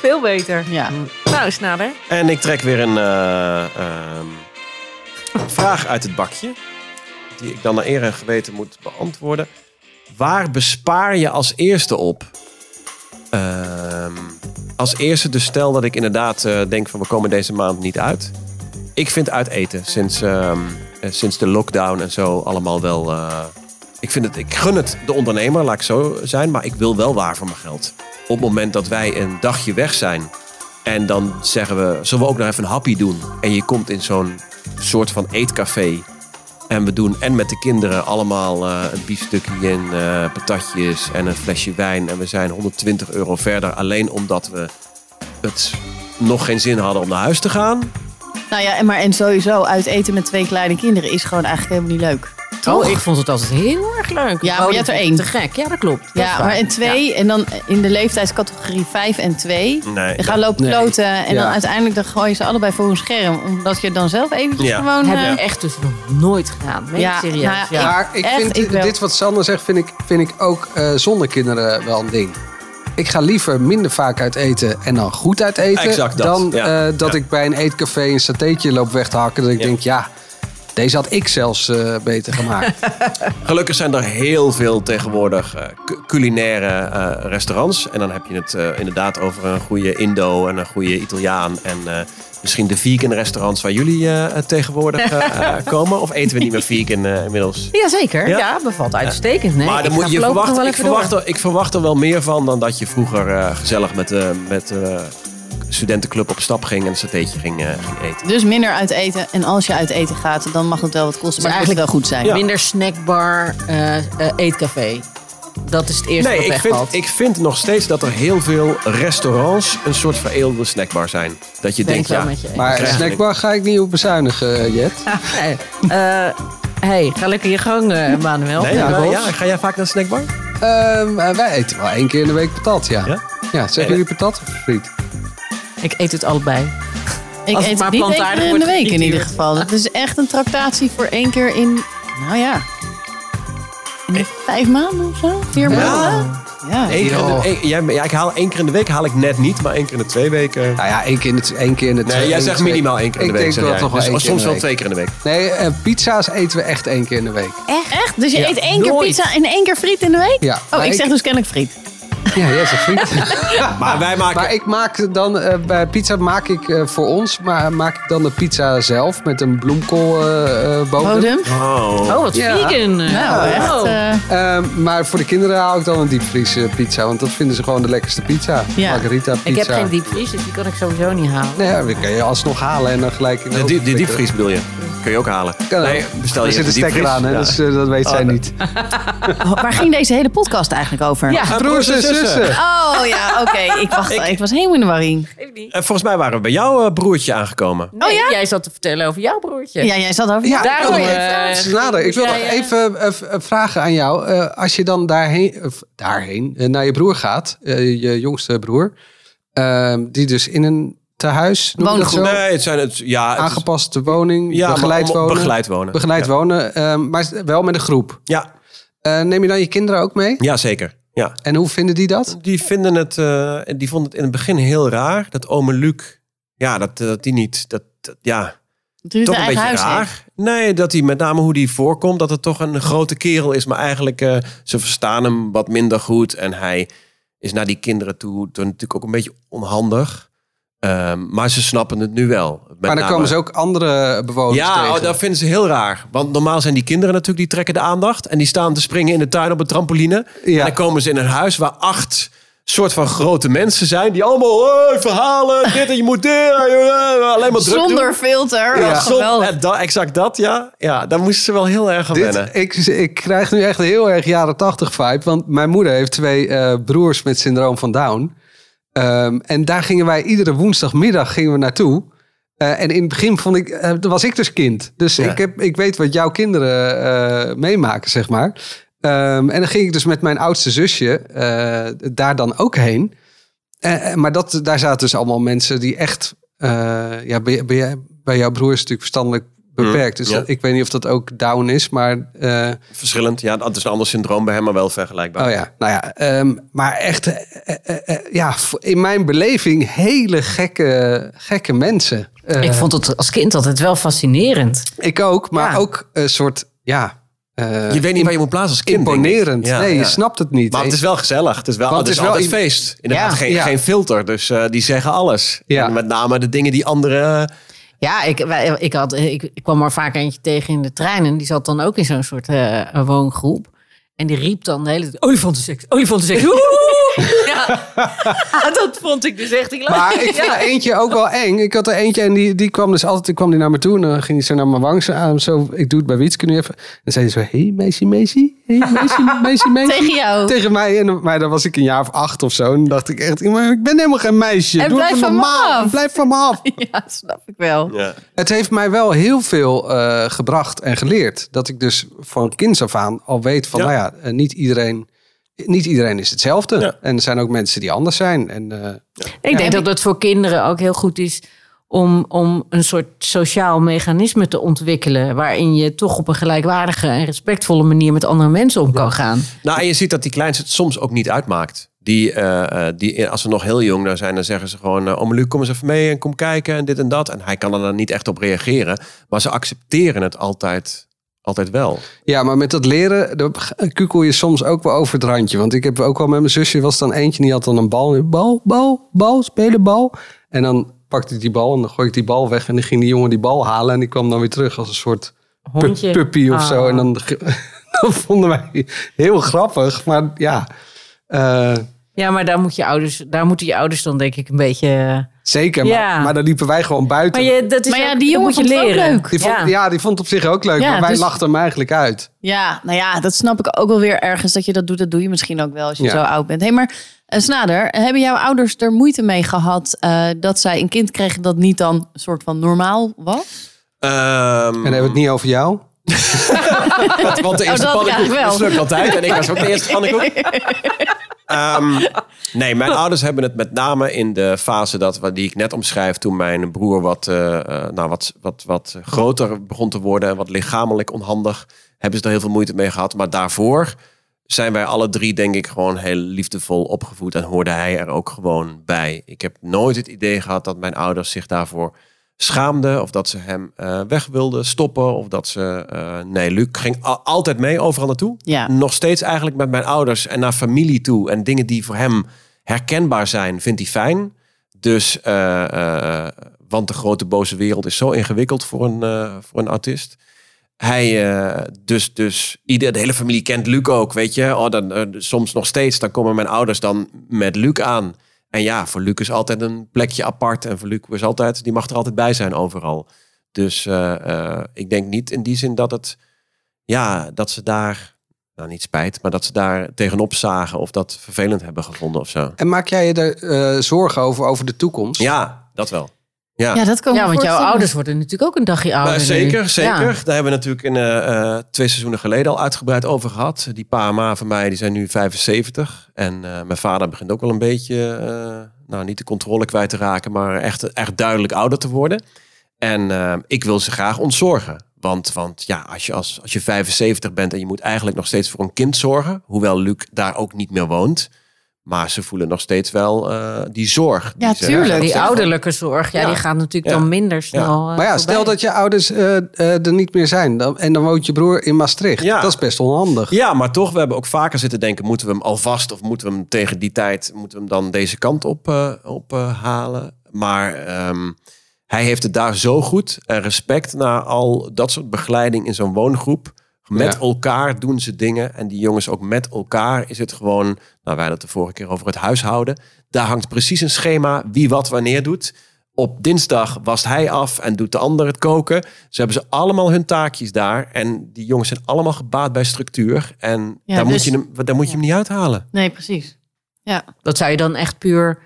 S5: veel beter.
S2: ja.
S5: Nou, Snader.
S1: En ik trek weer een eh, ehm, vraag uit het bakje. Die ik dan naar eer en geweten moet beantwoorden. Waar bespaar je als eerste op? Ehm, als eerste, dus stel dat ik inderdaad eh, denk van we komen deze maand niet uit. Ik vind uit eten sinds, ehm, eh, sinds de lockdown en zo allemaal wel... eh, ik, vind het, ik gun het de ondernemer, laat ik zo zijn. Maar ik wil wel waar voor mijn geld. Op het moment dat wij een dagje weg zijn... En dan zeggen we, zullen we ook nog even een happy doen? En je komt in zo'n soort van eetcafé. En we doen en met de kinderen allemaal eh, een biefstukje en eh, patatjes en een flesje wijn. En we zijn 120 euro verder alleen omdat we het nog geen zin hadden om naar huis te gaan.
S2: Nou ja, en, maar, en sowieso uit eten met twee kleine kinderen is gewoon eigenlijk helemaal niet leuk.
S4: Oh, ik vond het altijd heel erg leuk.
S2: Ja,
S4: Oh,
S2: maar je
S4: dat
S2: hebt er
S4: vind ik
S2: één.
S4: Te gek, ja, dat klopt. Dat is
S2: Ja,
S4: waar.
S2: maar en twee, en dan in de leeftijdscategorie vijf en twee.
S1: Nee.
S2: Je gaat lopen
S3: Nee.
S2: kloten en
S3: Ja.
S2: dan uiteindelijk dan gooi je ze allebei voor een scherm. Omdat je dan zelf eventjes
S1: Ja.
S2: gewoon...
S4: Hebben
S2: eh,
S4: we echt dus nog nooit gedaan. Meen
S2: Ja,
S4: ik serieus.
S2: nou ja,
S4: ja.
S3: Maar ik
S2: Echt,
S3: vind
S2: ik wel.
S3: dit wat Sander zegt, vind ik, vind ik ook eh, zonder kinderen wel een ding. Ik ga liever minder vaak uit eten en dan goed uit eten.
S1: Exact dat,
S3: Dan
S1: ja.
S3: eh, dat
S1: Ja.
S3: ik bij een eetcafé een satéetje loop weg te hakken. Dat ik
S1: Ja.
S3: denk, ja, deze had ik zelfs eh, beter gemaakt.
S1: Gelukkig zijn er heel veel tegenwoordig eh, cu- culinaire eh, restaurants. En dan heb je het eh, inderdaad over een goede Indo en een goede Italiaan. En eh, misschien de vegan restaurants waar jullie eh, tegenwoordig eh, eh, komen. Of eten we niet meer vegan eh, inmiddels?
S4: Jazeker,
S1: Ja.
S4: ja. bevat uitstekend. Nee,
S1: maar dan
S4: ik
S1: moet
S4: ga
S1: je
S4: voorlopig nog
S1: verwachten,
S4: wel
S1: ik,
S4: even door.
S1: verwacht er, ik verwacht er wel meer van dan dat je vroeger eh, gezellig met, eh met eh, studentenclub op stap ging en een satéetje ging, eh, ging eten.
S2: Dus minder uit eten. En als je uit eten gaat, dan mag het wel wat kosten. Maar het moet
S4: eigenlijk-
S2: wel goed zijn.
S1: Ja.
S4: Minder snackbar, eh, eh, eetcafé. Dat is het eerste
S1: Nee,
S4: wat
S1: ik
S4: wegvalt.
S1: vind, ik vind nog steeds dat er heel veel restaurants een soort veredelde snackbar zijn. Dat je
S4: Ben ik
S1: denkt,
S4: wel
S1: ja,
S4: met je eens.
S3: Maar
S1: Krijg je
S3: snackbar ga ik niet op bezuinigen, Jet.
S4: Nee. Eh, hey, ga lekker je gang, eh, Manuel.
S1: Nee,
S3: Ja,
S1: maar-
S3: Rolf.
S1: ja, ga jij vaak naar de snackbar?
S3: Ehm, eh, wij eten wel één keer in de week patat, ja.
S1: Ja?
S3: Ja, zeggen jullie patat of friet?
S4: Ik eet het allebei.
S2: Ik
S4: Als het
S2: eet
S4: maar
S2: het niet één
S4: plantaardig
S2: keer in
S4: wordt
S2: de week in ieder
S4: gefrituurd.
S2: geval. Het is echt een tractatie voor één keer in, nou ja, in de vijf maanden of zo? Vier maanden? Ja.
S1: Eén keer in de-
S3: joh.
S1: één- jij- ja, ik haal één keer in de week haal ik net niet, maar één keer in de twee weken.
S3: Nou ja, één keer in de, één keer in de twee-
S1: Nee, jij
S3: in de
S1: zegt
S3: twee-
S1: minimaal één keer in de
S3: Ik
S1: week.
S3: denk
S1: zeg
S3: wel
S1: jij.
S3: toch wel
S1: Dus
S3: één keer in
S1: soms
S3: de
S1: wel
S3: week.
S1: twee keer in de week.
S3: Nee, eh, pizza's eten we echt één keer in de week.
S2: Echt? Dus je
S3: Ja.
S2: eet één keer
S4: Nooit.
S2: pizza en één keer friet in de week?
S3: Ja.
S2: Oh,
S3: Maar
S2: ik zeg
S3: ik-
S2: dus kennelijk friet.
S3: Ja, jij zegt friet.
S1: Maar wij maken.
S3: maar ik maak dan, eh, bij pizza maak ik eh, voor ons, maar maak ik dan de pizza zelf met een bloemkool eh, eh, bodem.
S2: Bodem?
S1: Oh.
S4: Oh, wat
S3: Ja.
S4: vegan.
S2: Nou, echt.
S4: Oh.
S2: eh,
S3: Ehm, maar voor de kinderen hou ik dan een diepvries eh, pizza, want dat vinden ze gewoon de lekkerste pizza.
S2: Ja.
S3: Margarita pizza.
S4: ik heb geen diepvries, dus die kan ik sowieso niet halen.
S3: Nee, ja, die kan je alsnog halen en dan gelijk in de
S1: De, die, die
S3: oven flikkeren.
S1: diepvries bedoel je? Kun je ook halen.
S3: Kan ook.
S1: nee, bestel
S3: Er
S1: je
S3: zit een
S1: even
S3: stekker
S1: diepvries.
S3: aan, hè?
S1: Ja. Oh,
S3: Dus, eh, dat weet zij
S1: nee.
S3: niet.
S2: waar ging deze hele podcast eigenlijk over?
S4: Ja.
S1: Eh,
S3: Broers en zussen.
S2: Oh ja, oké. Ik wacht, ik... was helemaal in de warring.
S5: Geef niet.
S1: Eh, volgens mij waren we bij jouw eh, broertje aangekomen.
S4: Nee,
S2: Oh ja?
S4: Jij zat te vertellen over jouw broertje.
S2: Ja, Oh, jij zat over.
S3: Ja,
S4: Daar
S3: ik wil
S4: hoor
S3: nog
S4: je
S3: even
S4: het.
S3: iets nadenken. Ik wil
S4: Ja,
S3: nog
S4: ja.
S3: even eh, v- eh, vragen aan jou. Eh, als je dan daarheen, of daarheen eh, naar je broer gaat, eh, je jongste broer, eh, die dus in een tehuis, noem je dat zo?
S2: Woongroep.
S1: Nee, het zijn het. Ja, het is-
S3: Aangepaste woning,
S1: ja,
S3: begeleid
S1: maar om-
S3: wonen.
S1: Begeleid wonen.
S3: Begeleid wonen, eh, maar wel met een groep.
S1: Ja,
S3: Eh, neem je dan je kinderen ook mee?
S1: ja zeker. Ja.
S3: En hoe vinden die dat?
S1: Die, vinden het, eh, die vonden het in het begin heel raar dat ome Luc. Ja, dat, eh, dat die niet. Dat, dat- ja,
S2: Toen
S1: toch
S2: het
S1: een
S2: eigen
S1: beetje
S2: huis
S1: raar.
S2: heeft.
S1: Nee, dat hij met name hoe die voorkomt, dat het toch een grote kerel is. Maar eigenlijk, eh, ze verstaan hem wat minder goed. En hij is naar die kinderen toe, toen natuurlijk ook een beetje onhandig. Ehm, maar ze snappen het nu wel. Met
S3: maar dan
S1: name-
S3: komen ze ook andere bewoners
S1: ja,
S3: tegen.
S1: oh, dat vinden ze heel raar. Want normaal zijn die kinderen natuurlijk, die trekken de aandacht. En die staan te springen in de tuin op een trampoline.
S3: Ja.
S1: En dan komen ze in een huis waar acht soort van grote mensen zijn. Die allemaal "Hey, verhalen, dit en je moet dit. en je- eh," Alleen maar druk doen.
S2: Zonder filter.
S1: Ja,
S2: Ja,
S1: zon-
S2: geweldig.
S1: eh, da- exact dat, ja. Ja, daar moesten ze wel heel erg aan wennen.
S3: Dit, ik, ik krijg nu echt een heel erg jaren tachtig vibe. Want mijn moeder heeft twee eh, broers met syndroom van Down. Ehm, en daar gingen wij iedere woensdagmiddag gingen we naartoe. Eh, en in het begin vond ik, eh, was ik dus kind. Dus
S1: Ja.
S3: ik, heb, ik weet wat jouw kinderen eh, meemaken, zeg maar. Ehm, en dan ging ik dus met mijn oudste zusje eh, daar dan ook heen. Eh, eh, maar dat, daar zaten dus allemaal mensen die echt... eh, ja, bij, bij, bij jouw broer is het natuurlijk verstandelijk beperkt. dus
S1: Mm, ja.
S3: dat, ik weet niet of dat ook down is, maar... eh,
S1: Verschillend, ja. Dat is een ander syndroom bij hem, maar wel vergelijkbaar.
S3: Oh ja, nou ja, ehm, maar echt, eh, eh, eh, eh, ja, v- in mijn beleving hele gekke, gekke mensen. Eh,
S4: Ik vond het als kind altijd wel fascinerend.
S3: ik ook, maar
S4: Ja.
S3: ook een soort, ja, eh,
S1: Je weet niet waar je moet plaatsen als kind. denk ik.
S3: imponerend.
S1: Ja,
S3: nee, je
S1: ja.
S3: snapt het niet.
S1: Maar het is wel gezellig. Het is wel,
S3: Want
S1: het is
S3: het is wel
S1: altijd feest. Inderdaad,
S4: Ja.
S1: geen,
S3: Ja.
S1: geen filter. Dus eh, die zeggen alles.
S3: Ja.
S1: En met name de dingen die anderen...
S4: Ja, ik, wij- ik, had, ik, ik kwam er vaak eentje tegen in de trein. En die zat dan ook in zo'n soort eh, woongroep. En die riep dan de hele tijd, olifantenseks, olifantenseks. Woehoe! ja. dat vond ik dus echt... Ik
S3: Maar ik vond er eentje ook wel eng. Ik had er eentje en die, die kwam dus altijd kwam die naar me toe. En dan ging hij zo naar mijn wang. Zo, aan, zo, ik doe het bij Wietske nu even. En zei hij zo, hey, meisje, meisje. Hey, meisje, meisje, meisje.
S2: Tegen jou.
S3: Tegen mij. En, dan- maar dan was ik een jaar of acht of zo. En dan dacht ik echt, maar ik ben helemaal geen meisje.
S2: En
S3: Doe
S2: blijf
S3: even
S2: van me
S3: normaal.
S2: af.
S3: Blijf van me af.
S2: Ja, snap ik
S3: Oh.
S2: wel.
S1: Ja.
S3: Het heeft mij wel heel veel eh, gebracht en geleerd. Dat ik dus van kinds af aan al weet van,
S1: Ja.
S3: nou ja, eh, niet iedereen... Niet iedereen is hetzelfde.
S1: Ja.
S3: En er zijn ook mensen die anders zijn. En, eh,
S4: denk
S2: Ja.
S4: dat het voor kinderen ook heel goed is... Om, om een soort sociaal mechanisme te ontwikkelen... waarin je toch op een gelijkwaardige en respectvolle manier... met andere mensen om kan gaan.
S1: Nou, en je ziet dat die kleins het soms ook niet uitmaakt. Die, eh, eh, die, als ze nog heel jong daar zijn, dan zeggen ze gewoon... eh, Ome Luc, kom eens even mee en kom kijken en dit en dat. En hij kan er dan niet echt op reageren. Maar ze accepteren het altijd, altijd wel.
S3: Ja, maar met dat leren dan g- kukel je soms ook wel over het randje. Want ik heb ook wel met mijn zusje, was dan eentje die had dan een bal. Bal, bal, bal, spelen bal. En dan pakte ik die bal en dan gooi ik die bal weg. En dan ging die jongen die bal halen en die kwam dan weer terug als een soort pu-
S4: Hondje.
S3: puppy of
S4: Ah.
S3: zo. En dan, ge- dat vonden wij heel grappig. Maar ja, eh,
S4: Ja, maar daar, moet je ouders, daar moeten je ouders dan denk ik een beetje... eh,
S3: Zeker, maar,
S4: Ja.
S3: maar dan liepen wij gewoon buiten.
S4: Maar, je, dat is
S2: Maar ja,
S4: ook-
S2: die
S4: dat
S2: jongen
S4: moet je
S2: vond het ook
S4: leren.
S2: leuk.
S3: die vond, ja.
S4: ja.
S3: die vond het op zich ook leuk,
S2: Ja,
S3: maar wij
S2: dus-
S3: lachten hem eigenlijk uit.
S2: Ja, nou ja, dat snap ik ook wel weer ergens. Dat je dat doet, dat doe je misschien ook wel als je
S3: Ja.
S2: zo oud bent. Hé, hey, maar eh, Snader, hebben jouw ouders er moeite mee gehad eh, dat zij een kind kregen dat niet dan een soort van normaal was?
S3: En dan hebben we het niet over jou.
S1: Ehm, Want de
S2: Oh,
S1: eerste
S2: dat
S1: pannenkoek
S2: krijg ik wel.
S1: is lukt altijd. En ik was ook de eerste pannenkoek. Ehm, nee, mijn ouders hebben het met name in de fase dat, wat- die ik net omschrijf... toen mijn broer wat, eh, eh, nou, wat, wat, wat groter begon te worden... en wat lichamelijk onhandig, hebben ze daar heel veel moeite mee gehad. Maar daarvoor zijn wij alle drie, denk ik, gewoon heel liefdevol opgevoed... en hoorde hij er ook gewoon bij. Ik heb nooit het idee gehad dat mijn ouders zich daarvoor schaamden... of dat ze hem eh, weg wilden stoppen of dat ze... eh, nee, Luc ging al- altijd mee overal naartoe
S2: Ja.
S1: nog steeds eigenlijk met mijn ouders en naar familie toe. En dingen die voor hem herkenbaar zijn, vindt hij fijn. Dus, eh, eh, want de grote boze wereld is zo ingewikkeld voor een, eh, voor een autist. Hij, eh, dus, dus ieder, de hele familie kent Luc ook, weet je. Oh, dan, eh, soms nog steeds, dan komen mijn ouders dan met Luc aan. En ja, voor Luc is altijd een plekje apart. En voor Luc is altijd, die mag er altijd bij zijn overal. Dus eh, eh, ik denk niet in die zin dat het, ja, dat ze daar nou niet spijt, maar dat ze daar tegenop zagen of dat vervelend hebben gevonden of zo.
S3: En maak jij je er eh, zorgen over, over de toekomst?
S1: Ja, dat wel. Ja,
S2: Ja, dat kan ik
S4: Ja,
S2: me
S4: want jouw
S2: voorstellen.
S4: ouders worden natuurlijk ook een dagje ouder.
S1: maar
S4: nu.
S1: Nou, zeker,
S4: Ja.
S1: zeker. Daar hebben we natuurlijk in, eh, eh, twee seizoenen geleden al uitgebreid over gehad. Die pa en ma van mij die zijn nu 75. En eh, mijn vader begint ook wel een beetje, eh, nou niet de controle kwijt te raken, maar echt, echt duidelijk ouder te worden. En eh, ik wil ze graag ontzorgen. Want, want ja, als je, als, als je 75 bent en je moet eigenlijk nog steeds voor een kind zorgen, hoewel Luc daar ook niet meer woont. Maar ze voelen nog steeds wel eh, die zorg.
S2: Ja,
S1: ze-
S2: tuurlijk.
S4: Die ouderlijke zorg, ja,
S1: Ja.
S4: die gaat natuurlijk
S1: Ja.
S4: dan minder snel. eh,
S3: Maar ja,
S4: voorbij.
S3: stel dat je ouders eh, eh, er niet meer zijn dan, en dan woont je broer in Maastricht.
S1: Ja.
S3: Dat is best onhandig.
S1: Ja, maar toch, we hebben ook vaker zitten denken: moeten we hem alvast of moeten we hem tegen die tijd, moeten we hem dan deze kant op, eh, op eh, halen? Maar ehm, hij heeft het daar zo goed. En respect naar al dat soort begeleiding in zo'n woongroep. Met
S3: Ja.
S1: elkaar doen ze dingen. En die jongens ook met elkaar is het gewoon. Nou, wij hadden het de vorige keer over het huishouden. Daar hangt precies een schema wie wat wanneer doet. Op dinsdag wast hij af en doet de ander het koken. Ze hebben ze allemaal hun taakjes daar. En die jongens zijn allemaal gebaat bij structuur. En
S2: Ja,
S1: daar, moet
S2: dus-
S1: je hem, daar moet je hem niet uithalen.
S2: Nee, precies. Ja.
S4: Dat zou je dan echt puur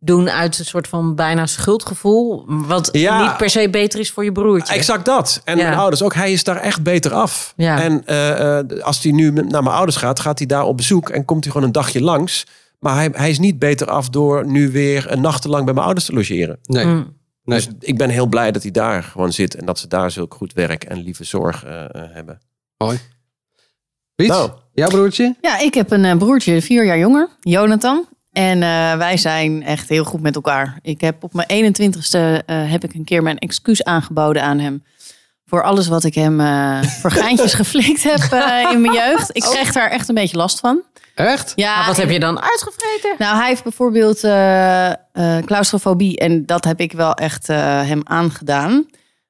S4: doen uit een soort van bijna schuldgevoel. Wat
S1: Ja.
S4: niet per se beter is voor je broertje.
S1: Exact dat. En
S4: Ja.
S1: mijn ouders ook. Hij is daar echt beter af.
S4: Ja.
S1: En eh, eh, als hij nu naar mijn ouders gaat, gaat hij daar op bezoek en komt hij gewoon een dagje langs. Maar hij, hij is niet beter af door nu weer een nachtenlang bij mijn ouders te logeren.
S3: Nee.
S4: Mm.
S3: Nee.
S1: Dus ik ben heel blij dat hij daar gewoon zit en dat ze daar zulk goed werk en lieve zorg eh, eh, hebben.
S2: Ah.
S3: Piet,
S1: Nou.
S3: jouw broertje?
S2: Ja, ik heb een eh, broertje, vier jaar jonger, Jonathan. En eh, wij zijn echt heel goed met elkaar. Ik heb op mijn 21ste eh, heb ik een keer mijn excuus aangeboden aan hem. Voor alles wat ik hem eh, voor geintjes geflikt heb eh, in mijn jeugd. Ik kreeg daar echt een beetje last van.
S3: Echt?
S2: Ja,
S4: Maar wat heb je dan uitgevreten?
S2: nou, hij heeft bijvoorbeeld eh, eh, claustrofobie. En dat heb ik wel echt eh, hem aangedaan.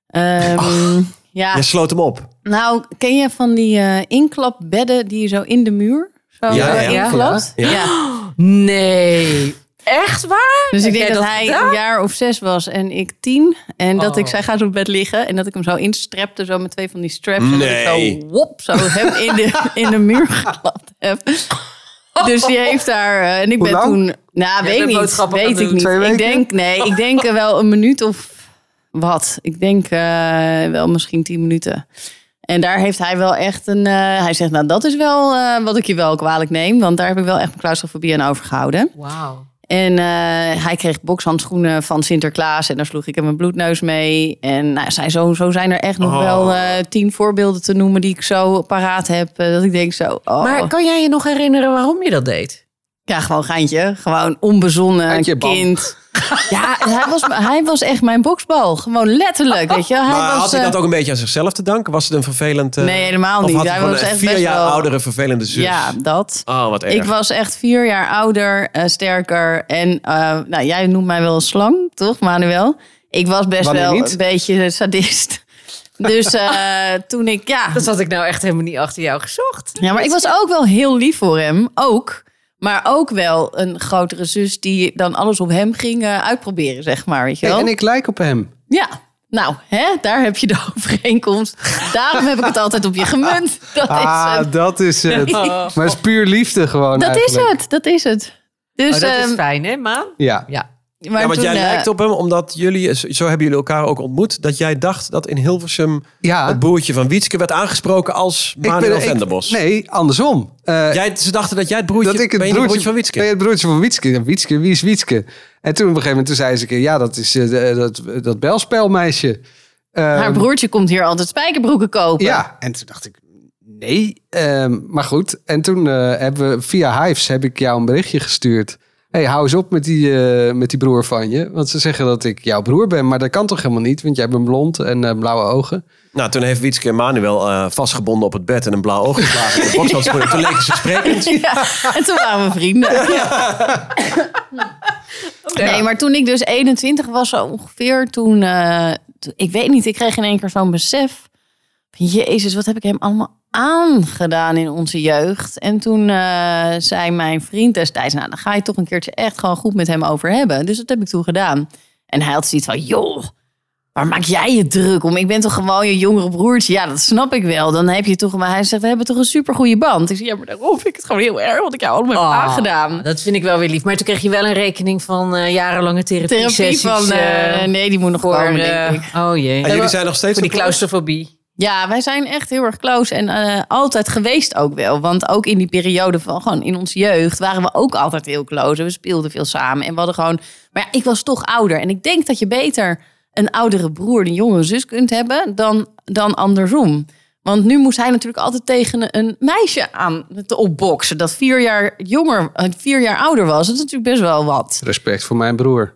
S2: Ehm, ja.
S1: Je sloot hem op.
S2: Nou, ken je van die eh, inklapbedden die je zo in de muur zo
S1: Ja,
S2: eh,
S4: ja.
S2: inklapt?
S1: Ja.
S2: ja.
S4: Nee. Echt waar?
S2: Dus ik
S4: Heb
S2: denk
S4: jij
S2: dat,
S4: dat
S2: hij
S4: gedaan?
S2: een jaar of zes was en ik tien. En dat ik,
S4: Oh.
S2: zij gaat op bed liggen en dat ik hem zo instrepte, zo met twee van die straps. En dat ik
S1: Nee.
S2: zo, wop, zo hem in de, in de muur geklapt heb. Dus die heeft daar, eh, en ik
S3: Hoe
S2: ben
S3: lang?
S2: toen, nou
S4: bent
S2: weet niet,
S4: boodschappen gaan
S2: weet ik
S4: doen.
S2: niet.
S3: Twee
S2: Ik
S3: weken?
S2: denk, nee, ik denk eh, wel een minuut of wat. Ik denk eh, wel misschien tien minuten. En daar heeft hij wel echt een. eh, hij zegt, nou, dat is wel eh, wat ik je wel kwalijk neem. Want daar heb ik wel echt mijn claustrofobie aan overgehouden.
S4: Wauw.
S2: En eh, hij kreeg bokshandschoenen van Sinterklaas. En daar sloeg ik hem een bloedneus mee. En nou, zijn zo, zo zijn er echt nog
S1: Oh.
S2: wel eh, tien voorbeelden te noemen die ik zo paraat heb. eh, dat ik denk zo, oh.
S4: Maar kan jij je nog herinneren waarom je dat deed?
S2: Ja, gewoon geintje. Gewoon onbezonnen
S3: Geintje, bam.
S2: kind. Ja, hij was, hij was echt mijn boksbal. Gewoon letterlijk, weet je. wel. Hij
S1: maar
S2: was,
S1: had hij
S2: eh,
S1: dat ook een beetje aan zichzelf te danken? Was het een vervelend... eh,
S2: Nee, helemaal
S1: Of
S2: niet.
S1: had hij
S2: Hij
S1: gewoon
S2: was
S1: een
S2: echt
S1: vier
S2: best
S1: jaar
S2: wel-
S1: oudere vervelende zus?
S2: Ja, dat.
S1: Oh, wat erg.
S2: Ik was echt vier jaar ouder, eh, sterker. En eh, nou, jij noemt mij wel een slang, toch, Manuel? Ik was best
S3: Wanneer
S2: wel
S3: niet?
S2: een beetje sadist. Dus eh, toen ik, ja.
S4: Dat had ik nou echt helemaal niet achter jou gezocht.
S2: ja, maar ik was ook wel heel lief voor hem. Ook. Maar ook wel een grotere zus die dan alles op hem ging eh, uitproberen, zeg maar. Weet je
S3: Hey,
S2: wel?
S3: en ik lijk op hem.
S2: Ja, nou, hè, daar heb je de overeenkomst. Daarom heb ik het altijd op je gemunt. Dat is het.
S3: Ah, dat is het. Maar het is puur liefde gewoon
S2: Dat is
S3: eigenlijk.
S2: het, dat is het. Dus,
S5: Oh, dat is
S2: ehm,
S5: fijn, hè, Maan?
S3: Ja.
S2: maar
S1: ja, want
S2: toen,
S1: jij
S2: eh,
S1: lijkt op hem omdat jullie, zo hebben jullie elkaar ook ontmoet, dat jij dacht dat in Hilversum
S3: ja.
S1: het broertje van Wietske werd aangesproken als Manuel Venderbos.
S3: Nee, andersom. Eh,
S1: Jij, ze dachten dat jij het broertje,
S3: dat ik het
S1: ben je
S3: broertje,
S1: het broertje van Wietske.
S3: ben je het broertje van Wietske. Ja, Wietske, wie is Wietske? En toen op een gegeven moment toen zei ze een keer, ja, dat is eh, dat, dat belspelmeisje. Ehm,
S2: haar broertje komt hier altijd spijkerbroeken kopen.
S3: Ja, en toen dacht ik, nee. Ehm, maar goed, en toen eh, hebben we via Hives heb ik jou een berichtje gestuurd. hey, hou eens op met die, eh, met die broer van je. Want ze zeggen dat ik jouw broer ben, maar dat kan toch helemaal niet? Want jij bent blond en eh, blauwe ogen.
S1: Nou, toen heeft Wietske Manuel eh, vastgebonden op het bed en een blauw oog geslagen in de bokshandschoenen. Toen leken ze sprekend.
S2: Ja, en toen waren we vrienden. Nee, maar toen ik dus 21 was zo ongeveer, toen... eh, toen- ik weet niet, ik kreeg in één keer zo'n besef. van, Jezus, wat heb ik hem allemaal aangedaan in onze jeugd. En toen eh, zei mijn vriend destijds... Nou, dan ga je toch een keertje echt gewoon goed met hem over hebben. Dus dat heb ik toen gedaan. En hij had zoiets van, joh... Waar maak jij je druk om? Ik ben toch gewoon je jongere broertje? Ja, dat snap ik wel. Dan heb je toch... Maar hij zegt, we hebben toch een supergoeie band? Ik zeg, ja, maar daarom vind ik het gewoon heel erg... wat ik jou allemaal heb
S4: Oh,
S2: aangedaan.
S4: Dat vind ik wel weer lief. Maar toen kreeg je wel een rekening van eh, jarenlange therapie.
S2: Therapie van... eh, nee, die moet nog
S4: voor,
S2: komen,
S4: eh,
S2: denk ik.
S4: oh jee.
S1: En Ah, jullie zijn nog steeds
S4: voor die
S1: op-
S4: claustrofobie.
S2: Ja, wij zijn echt heel erg close en eh, altijd geweest ook wel. Want ook in die periode van gewoon in onze jeugd waren we ook altijd heel close. We speelden veel samen en we hadden gewoon... Maar ja, ik was toch ouder. En ik denk dat je beter een oudere broer, een jongere zus kunt hebben dan, dan andersom. Want nu moest hij natuurlijk altijd tegen een meisje aan te opboksen. Dat vier jaar, jonger, eh, vier jaar ouder was. Dat is natuurlijk best wel wat.
S3: Respect voor mijn broer.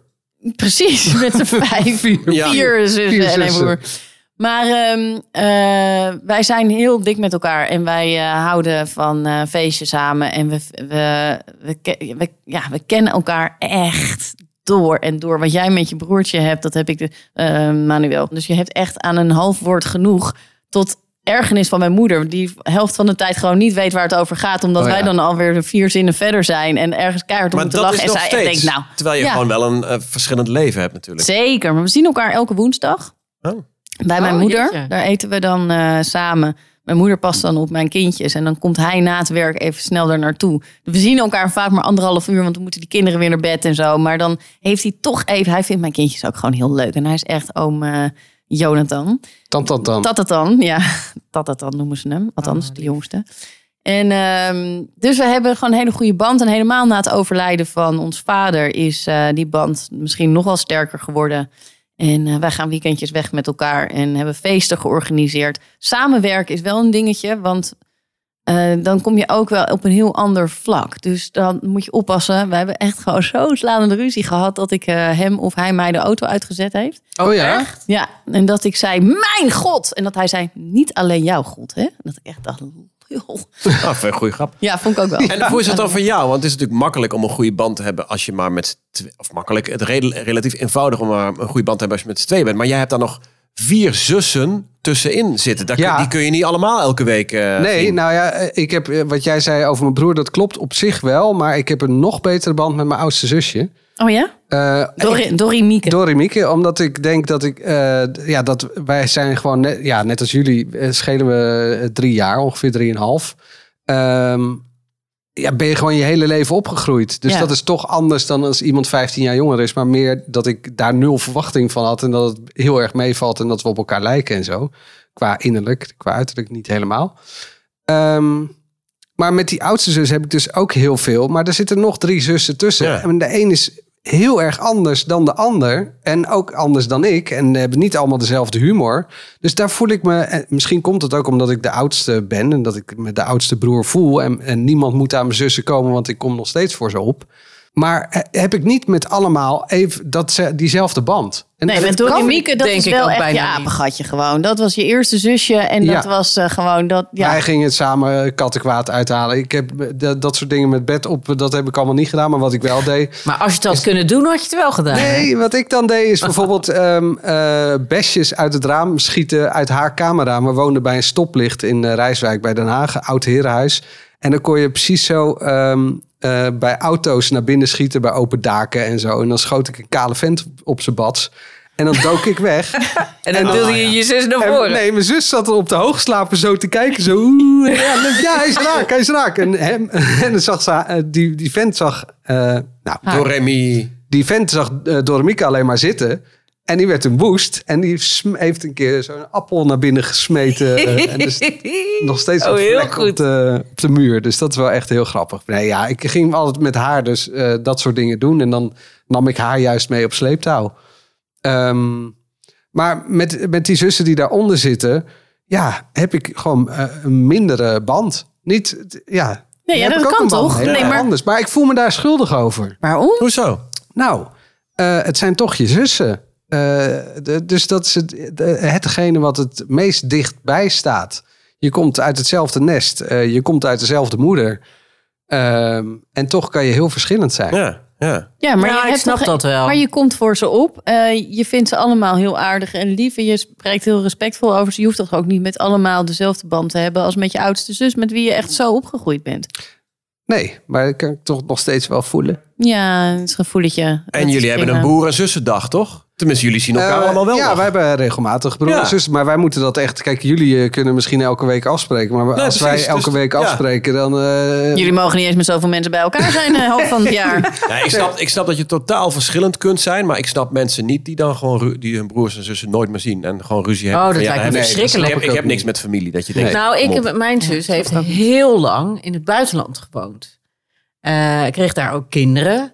S2: Precies, met de vijf, vier,
S1: Ja.
S2: zussen
S3: Vier
S2: en een
S3: zussen.
S2: broer. Maar ehm, eh, wij zijn heel dik met elkaar en wij eh, houden van eh feestjes samen. En we, we, we, ke- we- ja, we kennen elkaar echt door en door. Wat jij met je broertje hebt, dat heb ik, de, eh, Manuel. Dus je hebt echt aan een half woord genoeg tot ergernis van mijn moeder. Die helft van de tijd gewoon niet weet waar het over gaat. Omdat
S3: Oh ja.
S2: wij dan alweer de vier zinnen verder zijn. En ergens keihard om
S1: Maar
S2: moeten
S1: dat
S2: lachen.
S1: is
S2: en
S1: nog
S2: zij echt
S1: steeds.
S2: denkt, nou...
S1: Terwijl je
S2: ja.
S1: gewoon wel een eh, verschillend leven hebt natuurlijk.
S2: Zeker, maar we zien elkaar elke woensdag.
S1: Oh.
S2: Bij mijn
S4: Oh,
S2: moeder.
S4: jeetje.
S2: Daar eten we dan eh, samen. Mijn moeder past dan op mijn kindjes. En dan komt hij na het werk even snel daar naartoe. We zien elkaar vaak maar anderhalf uur. Want dan moeten die kinderen weer naar bed en zo. Maar dan heeft hij toch even... Hij vindt mijn kindjes ook gewoon heel leuk. En hij is echt oom eh, Jonathan.
S3: Tam, tam, tam.
S2: Tatatan, ja. Tatatan noemen ze hem. Althans, de jongste. En ehm, dus we hebben gewoon een hele goede band. En helemaal na het overlijden van ons vader is eh, die band misschien nogal sterker geworden. En eh, wij gaan weekendjes weg met elkaar en hebben feesten georganiseerd. Samenwerken is wel een dingetje, want eh, dan kom je ook wel op een heel ander vlak. Dus dan moet je oppassen. We hebben echt gewoon zo'n slaande ruzie gehad dat ik eh, hem of hij mij de auto uitgezet heeft.
S3: oh ja?
S2: Ja, en dat ik zei, mijn god! En dat hij zei, niet alleen jouw god, hè? En dat ik echt dacht, joh.
S1: Ah, vind ik een goede grap.
S2: Ja, vond ik ook wel.
S1: En hoe is het dan voor jou? Want het is natuurlijk makkelijk om een goede band te hebben als je maar met... z'n twee- Of makkelijk, het redel- relatief eenvoudig om maar een goede band te hebben als je met z'n twee bent. Maar jij hebt daar nog vier zussen tussenin zitten. Daar kun-
S3: Ja.
S1: Die kun je niet allemaal elke week eh,
S3: Nee,
S1: zien.
S3: nou ja, eh, ik heb, eh, wat jij zei over mijn broer, dat klopt op zich wel. Maar ik heb een nog betere band met mijn oudste zusje.
S2: Oh ja?
S3: Eh,
S2: Dorrie Dorrie Mieke.
S3: Dori Mieke, omdat ik denk dat ik, eh, d- ja, dat wij zijn gewoon, net, ja, net als jullie, eh, schelen we eh, drie jaar, ongeveer drieënhalf. Ehm ja, ben je gewoon je hele leven opgegroeid. Dus
S2: Ja.
S3: dat is toch anders dan als iemand 15 jaar jonger is. Maar meer dat ik daar nul verwachting van had. En dat het heel erg meevalt en dat we op elkaar lijken en zo. Qua innerlijk, qua uiterlijk niet helemaal. Ehm, maar met die oudste zus heb ik dus ook heel veel. Maar er zitten nog drie zussen tussen.
S1: Ja.
S3: En de een is heel erg anders dan de ander. En ook anders dan ik. En hebben niet allemaal dezelfde humor. Dus daar voel ik me... en Misschien komt het ook omdat ik de oudste ben. En dat ik me de oudste broer voel. En, en niemand moet aan mijn zussen komen. Want ik kom nog steeds voor ze op. Maar eh, heb ik niet met allemaal even dat, ze- diezelfde band. En
S2: Nee,
S3: dat
S2: met Dorrie
S3: kan-
S2: Mieke, dat
S4: denk
S2: is
S4: ik
S2: wel
S4: ook
S2: echt je
S4: bijna niet.
S2: apengatje gewoon. Dat was je eerste zusje en dat
S3: Ja.
S2: was eh, gewoon dat... Ja.
S3: Wij gingen het samen kattenkwaad uithalen. Ik heb eh, dat, dat soort dingen met bed op, dat heb ik allemaal niet gedaan. Maar wat ik wel deed,
S4: Maar als je het had kunnen doen, had je het wel gedaan.
S3: Nee, wat ik dan deed is bijvoorbeeld ehm eh, besjes uit het raam schieten uit haar camera. We woonden bij een stoplicht in eh, Rijswijk bij Den Haag, een oud herenhuis. En dan kon je precies zo ehm, eh, bij auto's naar binnen schieten, bij open daken en zo. En dan schoot ik een kale vent op zijn bats. En dan dook ik weg.
S4: En dan duwde je je zus naar
S3: En-
S4: voren.
S3: nee, mijn zus zat er op de hoogslapen zo te kijken. Zo, oeh, ja, leuk. ja, hij is raak, hij is raak. En, hem, en dan zag ze, eh, die, die vent zag, eh, nou,
S1: Door Remy.
S3: die vent zag eh, Dormica alleen maar zitten. En die werd toen woest. En die sm- heeft een keer zo'n appel naar binnen gesmeten. eh, en dus nog steeds
S4: Oh,
S3: een
S4: heel
S3: vlek op
S4: goed.
S3: de, op de muur. Dus dat is wel echt heel grappig. Nee, ja, ik ging altijd met haar dus eh, dat soort dingen doen. En dan nam ik haar juist mee op sleeptouw. Ehm, maar met, met die zussen die daaronder zitten... ja, heb ik gewoon eh, een mindere band. Niet, ja...
S2: Nee, ja,
S3: heb
S2: dat
S3: ik ook
S2: kan
S3: een band
S2: toch?
S3: mee,
S2: Nee,
S3: maar
S2: maar-
S3: Anders. Maar ik voel me daar schuldig over.
S2: Waarom?
S1: Hoezo?
S3: Nou, eh, het zijn toch je zussen. Eh, de- dus dat is het, de- hetgene wat het meest dichtbij staat. Je komt uit hetzelfde nest. eh, je komt uit dezelfde moeder. Ehm, en toch kan je heel verschillend zijn.
S1: Ja, ja.
S2: Ja, maar
S4: Ja,
S2: je
S4: ik
S2: hebt
S4: snap
S2: toch-
S4: dat wel.
S2: Maar je komt voor ze op. Eh, je vindt ze allemaal heel aardig en lief. En je spreekt heel respectvol over ze. Je hoeft toch ook niet met allemaal dezelfde band te hebben als met je oudste zus, met wie je echt zo opgegroeid bent.
S3: Nee, maar dat kan ik toch nog steeds wel voelen.
S2: Ja, het is een gevoeletje.
S1: En jullie hebben een boer- en zussendag, toch? Tenminste, jullie zien elkaar
S3: Eh,
S1: allemaal wel.
S3: ja,
S1: nog.
S3: wij hebben regelmatig broers
S1: Ja.
S3: en zussen. Maar wij moeten dat echt... Kijk, jullie eh, kunnen misschien elke week afspreken. Maar als wij
S1: precies,
S3: elke
S1: dus-
S3: week
S1: ja.
S3: afspreken, dan... eh,
S2: Jullie mogen niet eens met zoveel mensen bij elkaar zijn, eh, hoofd van het jaar.
S1: Ja, ik, snap, ik snap dat je totaal verschillend kunt zijn, maar ik snap mensen niet die dan gewoon ru- die hun broers en zussen nooit meer zien en gewoon ruzie hebben.
S4: Oh, dat
S1: Van, ja,
S4: lijkt me
S1: heb ik-
S4: verschrikkelijk.
S1: Ik heb, ik
S3: Ook
S1: heb
S3: niet.
S1: niks met familie. Dat je denkt,
S4: Nou, ik
S1: kom op.
S4: heb, mijn zus heeft heel lang in het buitenland gewoond. Eh, Ik kreeg daar ook kinderen.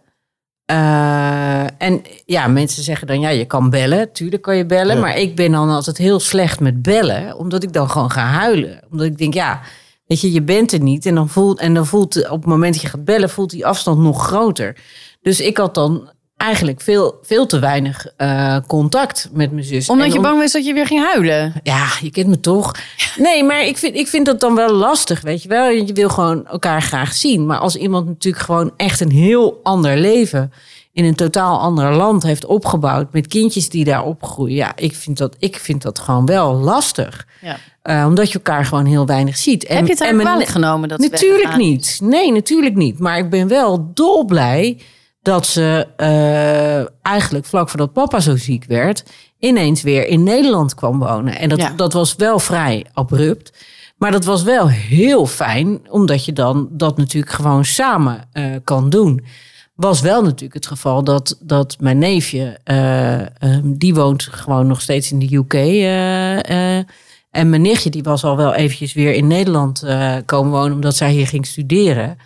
S4: Eh, en ja, mensen zeggen dan, ja, je kan bellen. Tuurlijk kan je bellen. Maar ik ben dan altijd heel slecht met bellen. Omdat ik dan gewoon ga huilen. Omdat ik denk, ja, weet je, je bent er niet. En dan voelt, en dan voelt op het moment dat je gaat bellen, voelt die afstand nog groter. Dus ik had dan eigenlijk veel, veel te weinig eh, contact met mijn zus. En
S2: Omdat je
S4: om-
S2: bang was dat je weer ging huilen.
S4: ja, je kent me toch. Nee, maar ik vind, ik vind dat dan wel lastig, weet je wel. Je wil gewoon elkaar graag zien. Maar als iemand natuurlijk gewoon echt een heel ander leven... in een totaal ander land heeft opgebouwd... met kindjes die daar opgroeien... ja, ik vind dat, ik vind dat gewoon wel lastig.
S2: Ja.
S4: Eh, omdat je elkaar gewoon heel weinig ziet. En,
S2: Heb je het haar
S4: en mijn-
S2: kwalijk genomen? Dat ze
S4: Natuurlijk
S2: weggaan?
S4: niet. Nee, natuurlijk niet. Maar ik ben wel dolblij dat ze eh, eigenlijk vlak voordat papa zo ziek werd, ineens weer in Nederland kwam wonen. En dat,
S2: Ja.
S4: dat was wel vrij abrupt. Maar dat was wel heel fijn, omdat je dan dat natuurlijk gewoon samen eh, kan doen. Was wel natuurlijk het geval dat, dat mijn neefje, eh, ehm, die woont gewoon nog steeds in de UK. eh, eh, en mijn nichtje, die was al wel eventjes weer in Nederland eh, komen wonen, omdat zij hier ging studeren.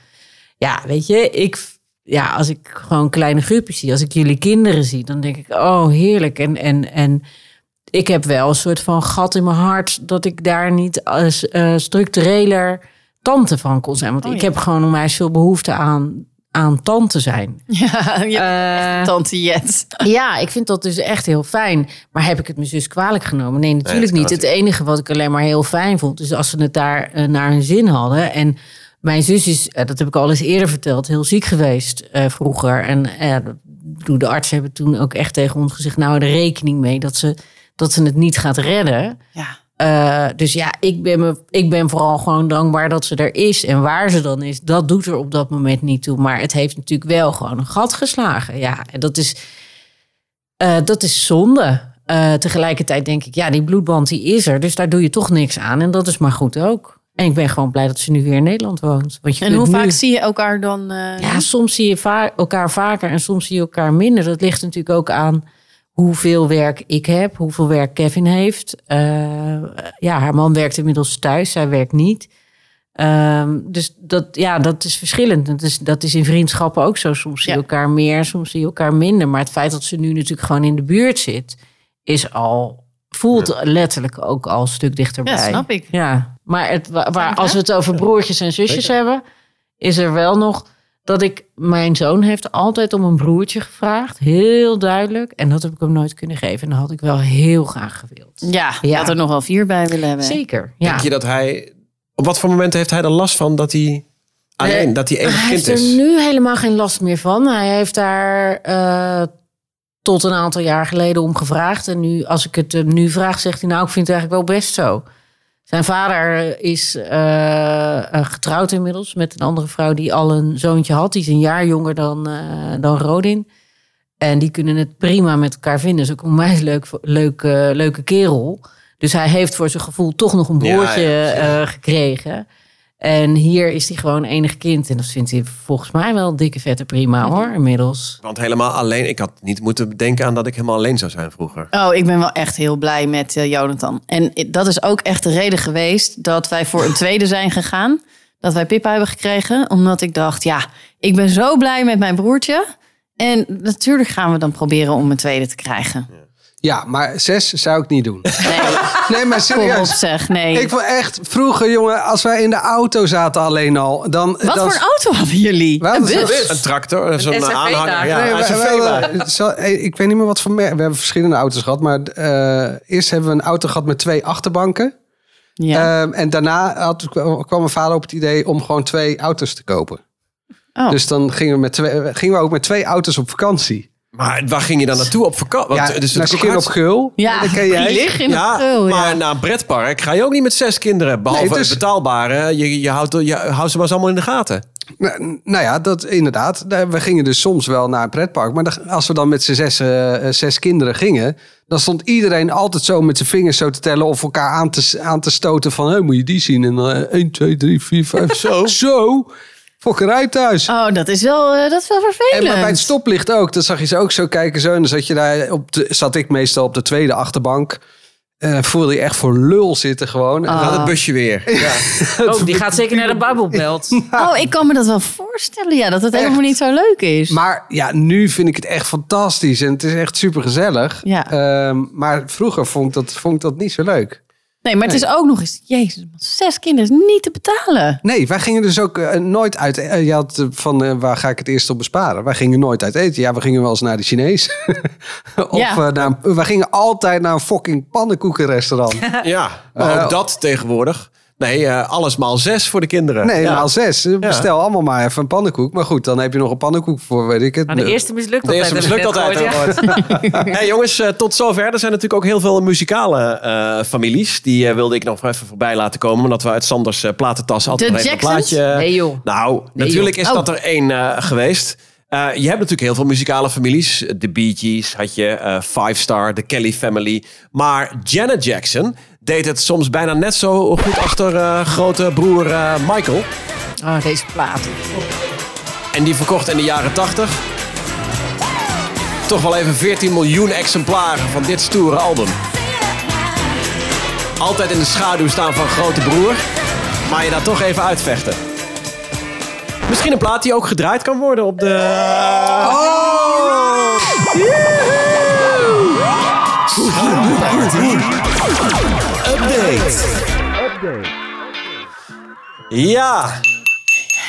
S4: Ja, weet je, ik, ja, als ik gewoon kleine groepjes zie, als ik jullie kinderen zie, dan denk ik, oh heerlijk. En, en, en ik heb wel een soort van gat in mijn hart dat ik daar niet als eh, structureler tante van kon zijn. Want
S2: Oh,
S4: ik
S2: ja.
S4: heb gewoon onwijs veel behoefte aan, aan tante zijn.
S2: Ja, je
S4: Eh,
S2: tante Jet.
S4: ja, ik vind dat dus echt heel fijn. Maar heb ik het mijn zus kwalijk genomen? Nee, natuurlijk
S1: dat kan
S4: niet. Het enige wat ik alleen maar heel fijn vond, is als ze het daar eh, naar hun zin hadden. En mijn zus is, eh, dat heb ik al eens eerder verteld, heel ziek geweest eh, vroeger. En eh, ik bedoel, de artsen hebben toen ook echt tegen ons gezegd: nou, hou er rekening mee dat ze, dat ze het niet gaat redden.
S2: Ja.
S4: Eh, dus ja, ik ben, me, ik ben vooral gewoon dankbaar dat ze er is. En waar ze dan is, dat doet er op dat moment niet toe. Maar het heeft natuurlijk wel gewoon een gat geslagen. Ja, en dat is, eh, dat is zonde. Eh, tegelijkertijd denk ik, ja, die bloedband die is er. Dus daar doe je toch niks aan. En dat is maar goed ook. En ik ben gewoon blij dat ze nu weer in Nederland woont. Want je
S2: En
S4: kunt
S2: hoe
S4: nu-
S2: vaak zie je elkaar dan? eh,
S4: ja, soms zie je va- elkaar vaker en soms zie je elkaar minder. Dat ligt natuurlijk ook aan hoeveel werk ik heb, hoeveel werk Kevin heeft. Eh, ja, haar man werkt inmiddels thuis, zij werkt niet. Ehm, dus dat, ja, dat is verschillend. Dat is, dat is in vriendschappen ook zo. Soms zie je
S2: Ja.
S4: elkaar meer, soms zie je elkaar minder. Maar het feit dat ze nu natuurlijk gewoon in de buurt zit, is al, voelt letterlijk ook al een stuk dichterbij.
S2: Ja, snap ik.
S4: Ja, maar het, wa- waar,
S2: Dank, hè?
S4: als we het over broertjes en zusjes hebben, is er wel nog dat ik. Mijn zoon heeft altijd om een broertje gevraagd, heel duidelijk. En dat heb ik hem nooit kunnen geven. En dat had ik wel heel graag gewild.
S2: Ja,
S4: Ja.
S2: dat er nog wel vier bij willen hebben.
S4: Zeker. Ja.
S1: Denk je dat hij... Op wat voor momenten heeft hij er last van dat hij alleen, dat hij enig
S4: hij
S1: kind
S4: heeft er
S1: is?
S4: nu helemaal geen last meer van. Hij heeft daar eh, tot een aantal jaar geleden om gevraagd. En nu, als ik het hem nu vraag, zegt hij: Nou, ik vind het eigenlijk wel best zo. Zijn vader is eh, eh, getrouwd inmiddels met een andere vrouw die al een zoontje had. Die is een jaar jonger dan, eh, dan Rodin. En die kunnen het prima met elkaar vinden. Is ook een onwijs leuk, leuk, eh, leuke kerel. Dus hij heeft voor zijn gevoel toch nog een
S1: Ja, ja,
S4: broertje
S1: precies.
S4: eh, gekregen. En hier is hij gewoon enig kind. En dat vindt hij volgens mij wel dikke vette prima hoor, inmiddels.
S1: Want helemaal alleen, ik had niet moeten bedenken aan dat ik helemaal alleen zou zijn vroeger.
S2: Oh, ik ben wel echt heel blij met eh, Jonathan. En i- dat is ook echt de reden geweest dat wij voor een tweede zijn gegaan. Dat wij Pippa hebben gekregen. Omdat ik dacht, ja, ik ben zo blij met mijn broertje. En natuurlijk gaan we dan proberen om een tweede te krijgen.
S3: Ja, maar zes zou ik niet doen.
S2: Nee,
S3: Nee, maar
S2: kom op
S3: serieus.
S2: zeg, nee.
S3: Ik wil echt, vroeger jongen, als wij in de auto zaten alleen al, dan...
S2: Wat
S3: dan,
S2: voor een auto hadden jullie?
S3: Wat?
S2: Een bus?
S1: Een tractor, zo'n
S5: SRV
S1: aanhanger.
S5: daar.
S1: Ja,
S3: Nee,
S1: Ah, een
S3: wij-
S1: SRV
S3: wij-
S1: daar.
S3: wij- zo- eh, ik weet niet meer wat voor merk. We hebben verschillende auto's gehad, maar eh, eerst hebben we een auto gehad met twee achterbanken.
S2: Ja.
S3: Ehm, en daarna had, kwam mijn vader op het idee om gewoon twee auto's te kopen.
S2: Oh.
S3: Dus dan gingen we, met twee, gingen we ook met twee auto's op vakantie.
S1: Maar waar ging je dan naartoe op vakantie?
S3: ja,
S1: Want, dus
S3: naar
S1: het is
S3: Skin op
S1: hartst-
S3: Geul.
S2: ja,
S3: dat ken jij.
S2: die liggen in de
S1: ja,
S2: geul, ja.
S1: maar naar een pretpark ga je ook niet met zes kinderen. Behalve
S3: Nee, dus-
S1: het betaalbare. Je, je, houdt, je houdt ze maar eens allemaal in de gaten.
S3: Nou, nou ja, dat inderdaad. Nou, We gingen dus soms wel naar een pretpark. Maar dan- als we dan met z'n zes, eh, eh, zes kinderen gingen... dan stond iedereen altijd zo met zijn vingers zo te tellen... of elkaar aan te, s- aan te stoten van... hé, moet je die zien? En dan eh, 1, 2, 3, 4, 5, zo. Zo. Fokkerij thuis.
S2: Oh, dat is wel, eh, dat is wel
S3: En
S2: vervelend.
S3: maar bij het stoplicht ook. Dan zag je ze ook zo kijken. Zo. En dan zat, je daar op de, zat ik meestal op de tweede achterbank. En voelde je echt voor lul zitten gewoon. En
S1: Dan
S3: dan-
S1: Gaat het busje weer.
S4: Oh, die gaat zeker naar de Bijbelbelt.
S2: Oh, ik kan me dat wel voorstellen, ja, dat het helemaal niet zo leuk is.
S3: Maar ja, nu vind ik het echt fantastisch. En het is echt super gezellig.
S2: Ja.
S3: maar vroeger vond ik, dat, vond ik dat niet zo leuk.
S2: nee, maar het is ook nog eens, jezus, man, zes kinderen is niet te betalen.
S3: Nee, wij gingen dus ook eh, nooit uit. eh, je had eh, van eh, waar ga ik het eerst op besparen? Wij gingen nooit uit eten. Ja, we gingen wel eens naar de Chinees. of
S2: Ja.
S3: eh, naar, een- wij gingen altijd naar een fucking pannenkoekenrestaurant.
S1: Ja, maar ook dat tegenwoordig. Nee, eh, alles maal zes voor de kinderen.
S3: Nee,
S1: Ja.
S3: maal zes. Eh, Bestel allemaal maar even een pannenkoek. Maar goed, dan heb je nog een pannenkoek voor, weet ik het.
S4: Maar de eerste mislukt
S1: Nou, De
S4: altijd.
S1: eerste mislukt
S4: heb ik net
S1: altijd.
S4: gehoord, ja.
S1: Hey, jongens, eh, tot zover. Er zijn natuurlijk ook heel veel muzikale eh, families. Die eh, wilde ik nog even voorbij laten komen. Omdat we uit Sanders eh, platentas altijd
S2: De
S1: nog even een
S2: Jacksons?
S1: plaatje...
S4: Nee, joh. Oh.
S1: Nou,
S4: Nee,
S1: natuurlijk is
S2: joh.
S1: dat er één eh, geweest. Eh, je hebt natuurlijk heel veel muzikale families. De Bee Gees had je, eh, Five Star, de Kelly Family. Maar Janet Jackson deed het soms bijna net zo goed achter eh, grote broer eh, Michael.
S4: Oh, deze plaat.
S1: En die verkocht in de jaren 80 toch wel even 14 miljoen exemplaren van dit stoere album. Altijd in de schaduw staan van grote broer, maar je daar toch even uitvechten. Misschien een plaat die ook gedraaid kan worden op de. Update. Update. Ja.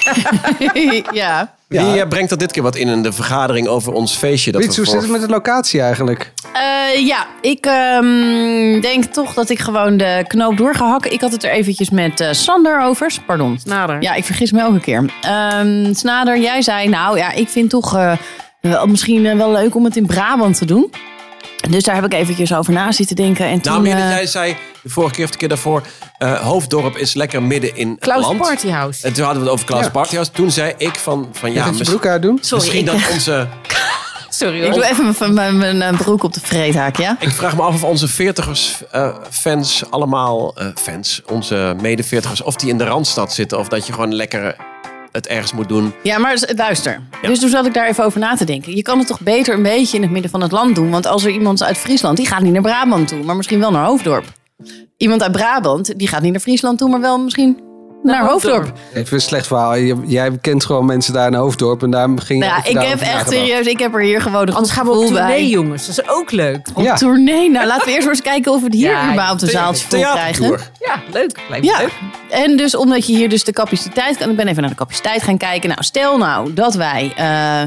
S2: ja.
S1: Wie eh, brengt er dit keer wat in in de vergadering over ons feestje? Dat
S3: Wiets,
S1: we
S3: hoe
S1: voor...
S3: zit het met de locatie eigenlijk?
S2: Eh, ja, ik ehm, denk toch dat ik gewoon de knoop door ga hakken. Ik had het er eventjes met eh, Sander over. Pardon.
S5: Nader.
S2: Ja, ik vergis me elke keer. Ehm, Snader, jij zei, nou ja, ik vind toch eh, wel, misschien eh, wel leuk om het in Brabant te doen. Dus daar heb ik eventjes over na zitten denken. En toen,
S1: Nou, meer dat
S2: eh,
S1: jij zei de vorige keer of de keer daarvoor... eh, Hoofddorp is lekker midden in het
S4: Klaus
S1: land.
S4: Partyhouse.
S1: En toen hadden we het over Klaus
S3: Ja.
S1: Partyhouse. Toen zei ik van, van ja,
S3: Ja, je
S1: mis-
S3: broek uit doen?
S2: Sorry,
S1: misschien
S2: ik-
S1: dat onze...
S4: Sorry
S2: ik
S4: hoor.
S2: doe even mijn- mijn, mijn, eh, broek op de vreedhaak, ja?
S1: Ik vraag me af of onze veertigers eh, fans allemaal... eh, fans, onze mede-veertigers, of die in de Randstad zitten... of dat je gewoon lekker het ergens moet doen.
S2: Ja, maar s- luister. Dus toen zat ik daar even over na te denken. Je kan het toch beter een beetje in het midden van het land doen? Want als er iemand is uit Friesland, die gaat niet naar Brabant toe, maar misschien wel naar Hoofddorp. Iemand uit Brabant, die gaat niet naar Friesland toe, maar wel misschien naar, Hoofddorp.
S4: Hoofddorp.
S3: Even een slecht verhaal. Je- jij kent gewoon mensen daar in Hoofddorp en daar ging je
S2: Nou,
S3: even
S2: ik heb
S3: daarover
S2: echt
S3: nagedacht.
S2: serieus, ik heb er hier gewoon een
S4: Anders
S2: goed
S4: gaan we op
S2: gevoel bij.
S4: tournee, jongens. Dat is ook leuk.
S2: Op
S3: Ja.
S2: tournee? Nou, laten we eerst maar eens kijken of we het hier
S4: Ja,
S2: überhaupt een zaaltje voor krijgen.
S1: Theatertour.
S4: Ja, leuk. Lijkt me
S2: Ja,
S4: leuk.
S2: en dus omdat je hier dus de capaciteit kan... Ik ben even naar de capaciteit gaan kijken. Nou, stel nou dat wij eh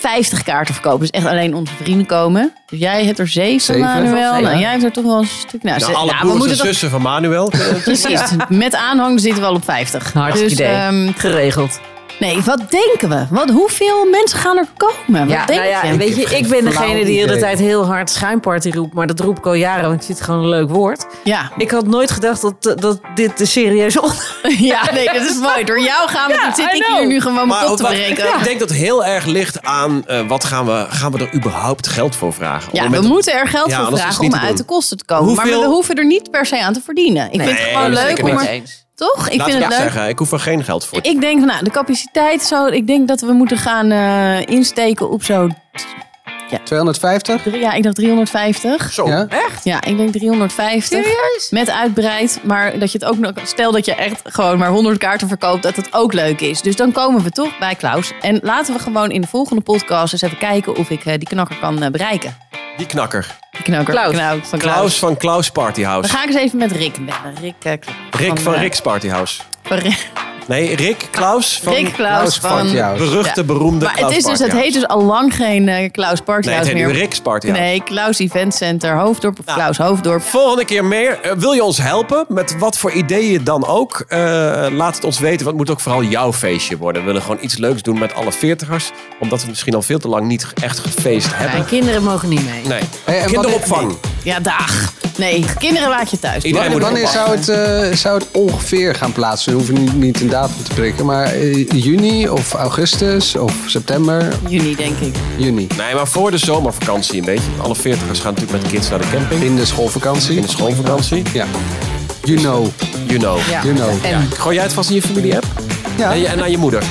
S2: 50 kaarten verkopen. Dus echt alleen onze vrienden komen. Dus jij hebt er 7,
S3: Zeven.
S2: Manuel.
S4: Zeven.
S2: Nou, jij hebt er toch wel een stuk... Nou, ze-
S1: Nou, alle
S2: nou, we
S1: broers en
S2: moeten toch...
S1: zussen van Manuel.
S2: Precies, met aanhang zitten we al op 50.
S4: Hartstikke
S2: dus,
S4: idee.
S2: ehm,
S4: Geregeld.
S2: Nee, wat denken we? Wat, hoeveel mensen gaan er komen? Wat
S4: Ja,
S2: denk
S4: nou ja,
S2: je?
S4: weet je,
S3: heb geen
S4: ik ben degene
S3: flauw
S4: die de hele
S3: idee.
S4: tijd heel hard schuimparty roept. Maar dat roep ik al jaren, want ik vind het gewoon een leuk woord.
S2: Ja.
S4: Ik had nooit gedacht dat, dat dit de serieuze on-
S2: ja, nee, dat is mooi. Door jou gaan we, dan zit
S4: I
S2: ik
S4: know.
S2: hier nu gewoon mijn
S1: Maar
S2: kop
S1: ook
S2: te
S1: wat-
S2: breken.
S1: ik denk dat heel erg ligt aan eh, wat gaan we, gaan we er überhaupt geld voor vragen. Op
S2: Ja,
S1: het
S2: we
S1: moment-
S2: moeten er geld
S1: Ja,
S2: voor
S1: anders is het
S2: vragen om
S1: niet te
S2: uit de
S1: doen.
S2: kosten te komen. Maar
S1: Hoeveel-
S2: we hoeven er niet per se aan te verdienen. Ik vind het
S1: Nee,
S2: gewoon leuk
S1: zeker
S2: om
S1: niet.
S2: er...
S4: eens.
S2: Toch? Ik
S1: Laat
S2: vind het leuk.
S1: zeggen, ik hoef er geen geld voor.
S2: Ik denk, van, nou, de capaciteit zo... Ik denk dat we moeten gaan eh, insteken op zo...
S3: Ja. 250?
S2: drie- Ja, ik dacht 350.
S1: Zo.
S3: Ja?
S2: Ja, ik denk 350.
S4: Serieus?
S2: Met uitbreid, maar dat je het ook nog... Stel dat je echt gewoon maar 100 kaarten verkoopt, dat het ook leuk is. Dus dan komen we toch bij Klaus. En laten we gewoon in de volgende podcast eens even kijken of ik eh, die knakker kan eh, bereiken.
S1: Die knakker.
S2: Die knakker.
S4: Klaus.
S2: knauw- van Klaus.
S1: Klaus van Klaus
S2: Dan
S1: Partyhouse.
S2: ga ik eens even met Rick bellen. Rick, eh,
S1: Rick van
S2: eh,
S1: Rick's Partyhouse.
S2: van Rick-
S1: Nee, Rick Klaus van
S2: Rick Klaus
S3: Klaus
S2: Nou, van...
S3: Party House.
S1: beruchte,
S2: Ja.
S1: beroemde
S2: Maar het,
S1: Klaus
S2: is dus, het
S1: Partyhouse.
S2: heet dus al lang geen eh, Klaus Party
S1: Nee, het
S2: House
S1: heet nu
S2: meer.
S1: Rick's Partyhouse.
S2: Nee, Klaus Event Center, Hoofddorp of
S1: Nou.
S2: Klaus Hoofddorp.
S1: Volgende keer meer. Eh, wil je ons helpen met wat voor ideeën dan ook? Eh, laat het ons weten, want het moet ook vooral jouw feestje worden. We willen gewoon iets leuks doen met alle veertigers. Omdat we misschien al veel te lang niet echt gefeest hebben.
S4: Mijn kinderen mogen niet mee.
S1: Nee.
S3: Hey, en wat-
S1: Kinderopvang.
S2: Ja, dag. Nee, kinderen laat je thuis.
S1: Iedereen
S3: En
S1: moet
S3: wanneer
S1: oppassen.
S3: zou het, eh, zou het ongeveer gaan plaatsen? We hoeven nu niet een datum te prikken, maar eh, juni of augustus of september,
S2: Juni, denk ik.
S3: juni.
S1: Nee, maar voor de zomervakantie een beetje. Alle veertigers gaan natuurlijk met de kids naar de camping.
S3: In de schoolvakantie.
S1: In de schoolvakantie.
S3: Ja. You know.
S1: You know.
S4: Ja.
S3: You know.
S4: En
S1: Gooi jij het vast in je familie-app?
S3: Ja,
S1: En, je, en aan je moeder.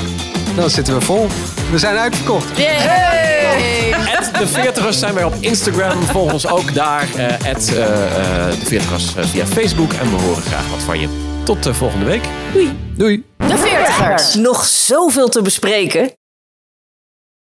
S3: Nou, dan zitten we vol. We zijn uitverkocht.
S1: At de veertigers zijn wij op Instagram. Volg ons ook daar. eh at, eh, eh, de veertigers eh, via Facebook. En we horen graag wat van je. Tot eh, volgende week.
S3: Doei.
S2: De veertigers.
S4: nog zoveel te bespreken.